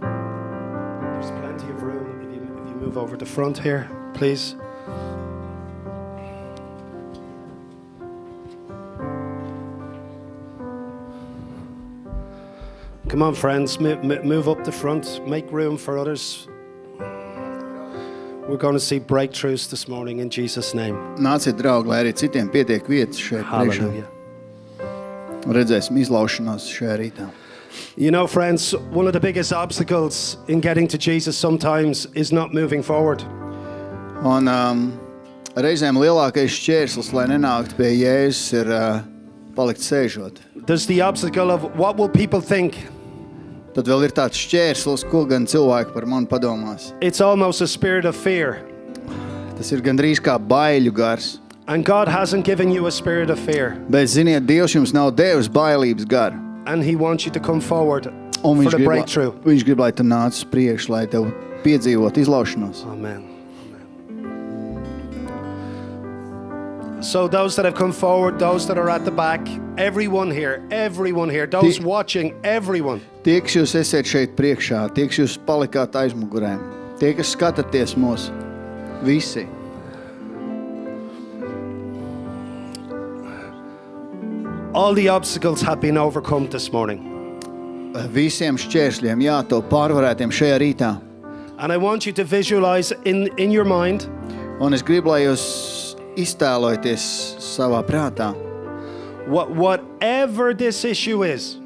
S1: There's plenty of room if you, if you move over to front here, please. Come on, friends, move, move up the front, make room for others. We're going to see breakthroughs this morning in Jesus' name.
S2: Nāciet, draugi, lai arī citiem pietiek vietas šeit. priekšā.
S1: Hallelujah.
S2: Redzēsim izlaušanos šajā rītā.
S1: You know, friends, one of the biggest obstacles in getting to Jesus sometimes is not moving forward.
S2: Un, um, reizēm lielākais šķērslis, lai nenāktu pie Jēzus, ir uh, palikt sēžot.
S1: There's the obstacle of what will people think?
S2: Tad vēl ir tāds šķērslis, ko gan cilvēki par mani padomās.
S1: It's almost a spirit of fear.
S2: Tas ir gandrīz kā baiļu gars.
S1: And God hasn't given you a spirit of fear.
S2: Bet, ziniet, Dievs jums nav devis bailības garu.
S1: And He wants you to come forward
S2: Un
S1: for
S2: viņš
S1: the
S2: grib,
S1: breakthrough.
S2: lai- viņš grib, lai tu nāc uz priekšu, lai tev piedzīvot izlaušanos.
S1: Amen. Amen. So those that have come forward, those that are at the back, everyone here, everyone here, those
S2: Ti-
S1: watching, everyone.
S2: Tie, kas jūs esat šeit priekšā, tie, kas jūs palikāt aizmugurē, tie, kas skatāties mūs, visi.
S1: All the obstacles have been overcome this morning.
S2: Visiem šķēršļiem jātop pārvarētiem šajā rītā.
S1: And I want you to visualize in, in your mind
S2: Un es gribu, lai jūs iztēlojaties savā prātā,
S1: what whatever this issue is,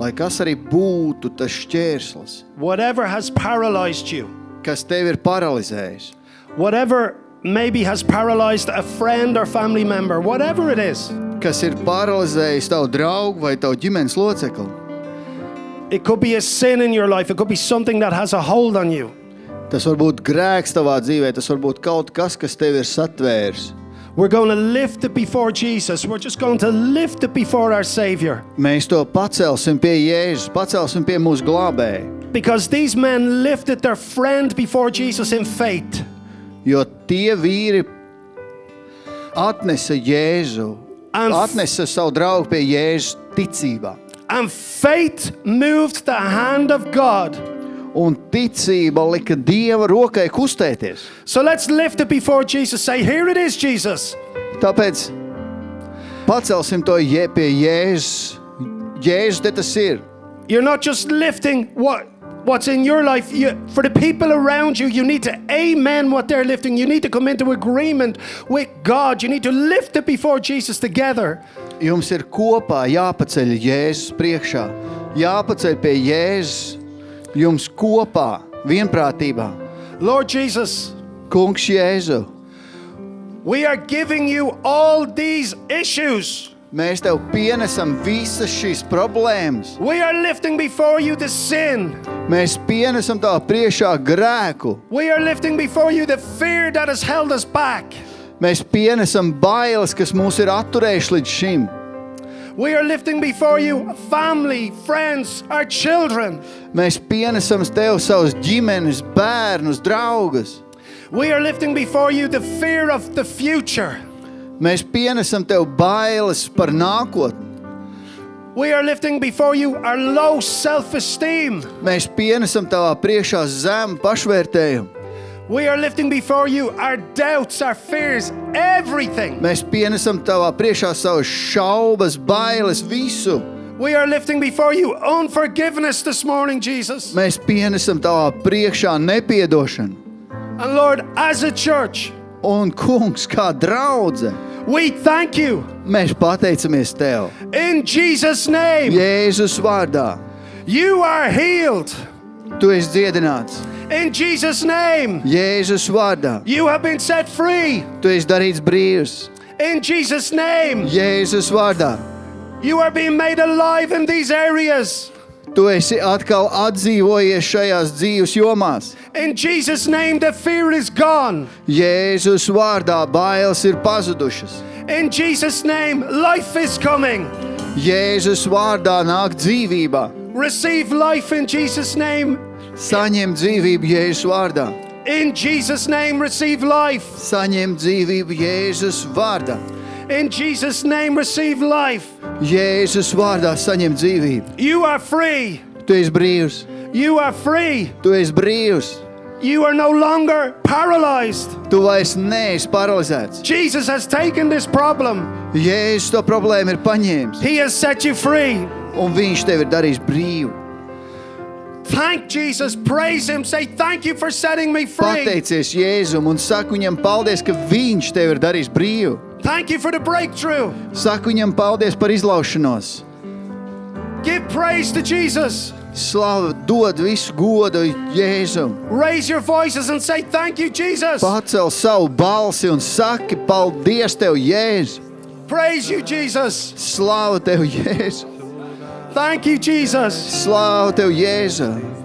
S2: lai kas arī būtu tas šķērslis,
S1: whatever has paralyzed you,
S2: kas tevi ir paralizējis,
S1: whatever maybe has paralyzed a friend or family member, whatever it is,
S2: kas ir paralizējis tavu draugu vai tavu ģimenes locekli.
S1: it could be a sin in your life, it could be something that has a hold on you.
S2: Tas var būt grēks tavā dzīvē, tas var būt kaut kas, kas tevi ir satvērs.
S1: We're going to lift it before Jesus. We're just going to lift it before our Savior.
S2: Mēs to pacelsim pie Jēzus, pacelsim pie mūsu glābēja.
S1: Because these men lifted their friend before Jesus in faith.
S2: Jo tie vīri atnesa Jēzu,
S1: And-
S2: atnesa savu draugu pie Jēzus ticībā.
S1: And faith moved the hand of God.
S2: Un ticība lika dieva rokai kustēties.
S1: So let's lift it before Jesus. Say, Here it is, Jesus.
S2: Tāpēc pacelsim to jē, pie Jēzus. Jēzus te tas ir.
S1: You're not just lifting what, what's in your life. You, for the people around you, you need to amen what they're lifting. You need to come into agreement with God. You need to lift it before Jesus together.
S2: Jums ir kopā jāpaceļ Jēzus priekšā, jāpaceļ pie Jēzus. Jums kopā, vienprātībā,
S1: Lord Jesus,
S2: Kungs Jēzu.
S1: we are giving you all these issues.
S2: Mēs tev pienesam visas šīs problēmas.
S1: We are lifting before you the sin.
S2: Mēs pienesam tā priekšā grēku,
S1: We are lifting before you the fear that has held us back.
S2: mēs pienesam bailes, kas mūs ir atturējuši līdz šim.
S1: We are lifting before you family, friends, our children.
S2: Mēs pienesam tev savus ģimenes, bērnus, draugus.
S1: We are lifting before you the fear of the future.
S2: Mēs pienesam tev bailes par nākotni.
S1: We are lifting before you our low self esteem.
S2: Mēs pienesam tavā priekšā zemu pašvērtējumu.
S1: We are lifting before you our doubts, our fears, everything.
S2: Mēs pienesam tavā priekšā savas šaubas, bailes, visu.
S1: We are lifting before you unforgiveness this morning, Jesus.
S2: Mēs pienesam tavā priekšā nepiedošanu.
S1: And Lord, as a church,
S2: Un, kungs, kā draudzene,
S1: we thank you
S2: mēs pateicamies tev
S1: in Jesus' name.
S2: Jēzus vārdā.
S1: You are healed
S2: Tu esi dziedināts
S1: in Jesus' name.
S2: Jēzus vārdā.
S1: You have been set free
S2: Tu esi darīts brīvs
S1: in Jesus' name.
S2: Jēzus vārdā.
S1: You are being made alive in these areas
S2: Tu esi atkal atdzīvojies šajās dzīves jomās.
S1: in Jesus' name. The fear is gone
S2: Jēzus vārdā bailes ir pazudušas.
S1: in Jesus' name. Life is coming.
S2: Jēzus vārdā nāk dzīvība.
S1: Receive life in Jesus' name.
S2: Saņem dzīvību Jēzus vārdā.
S1: In Jesus' name, receive life.
S2: Saņem dzīvību Jēzus vārdā.
S1: In Jesus' name, receive life.
S2: Jēzus vārdā saņem dzīvību.
S1: You are free.
S2: Tu esi brīvs.
S1: You are free.
S2: Tu esi brīvs.
S1: You are no longer paralyzed.
S2: Tu vairs neesi paralizēts.
S1: Jesus has taken this problem.
S2: Jēzus to problēmu ir paņēmis
S1: He has set you free.
S2: un viņš tevi ir darījis brīvu.
S1: Thank Jesus. Praise Him. Say, Thank you for setting me free.
S2: Pateicies Jēzum un saku viņam paldies, ka viņš tevi ir darījis brīvu.
S1: Thank you for the breakthrough.
S2: Saku viņam paldies par izlaušanos.
S1: Give praise to Jesus.
S2: Slavu dod visu godu Jēzum.
S1: Raise your voices and say, Thank you, Jesus.
S2: Pacel savu balsi un saki paldies tev, Jēzus.
S1: Praise you, Jesus.
S2: Slavu tev, Jēzus.
S1: Thank you, Jesus.
S2: Slavu tev, Jēzus.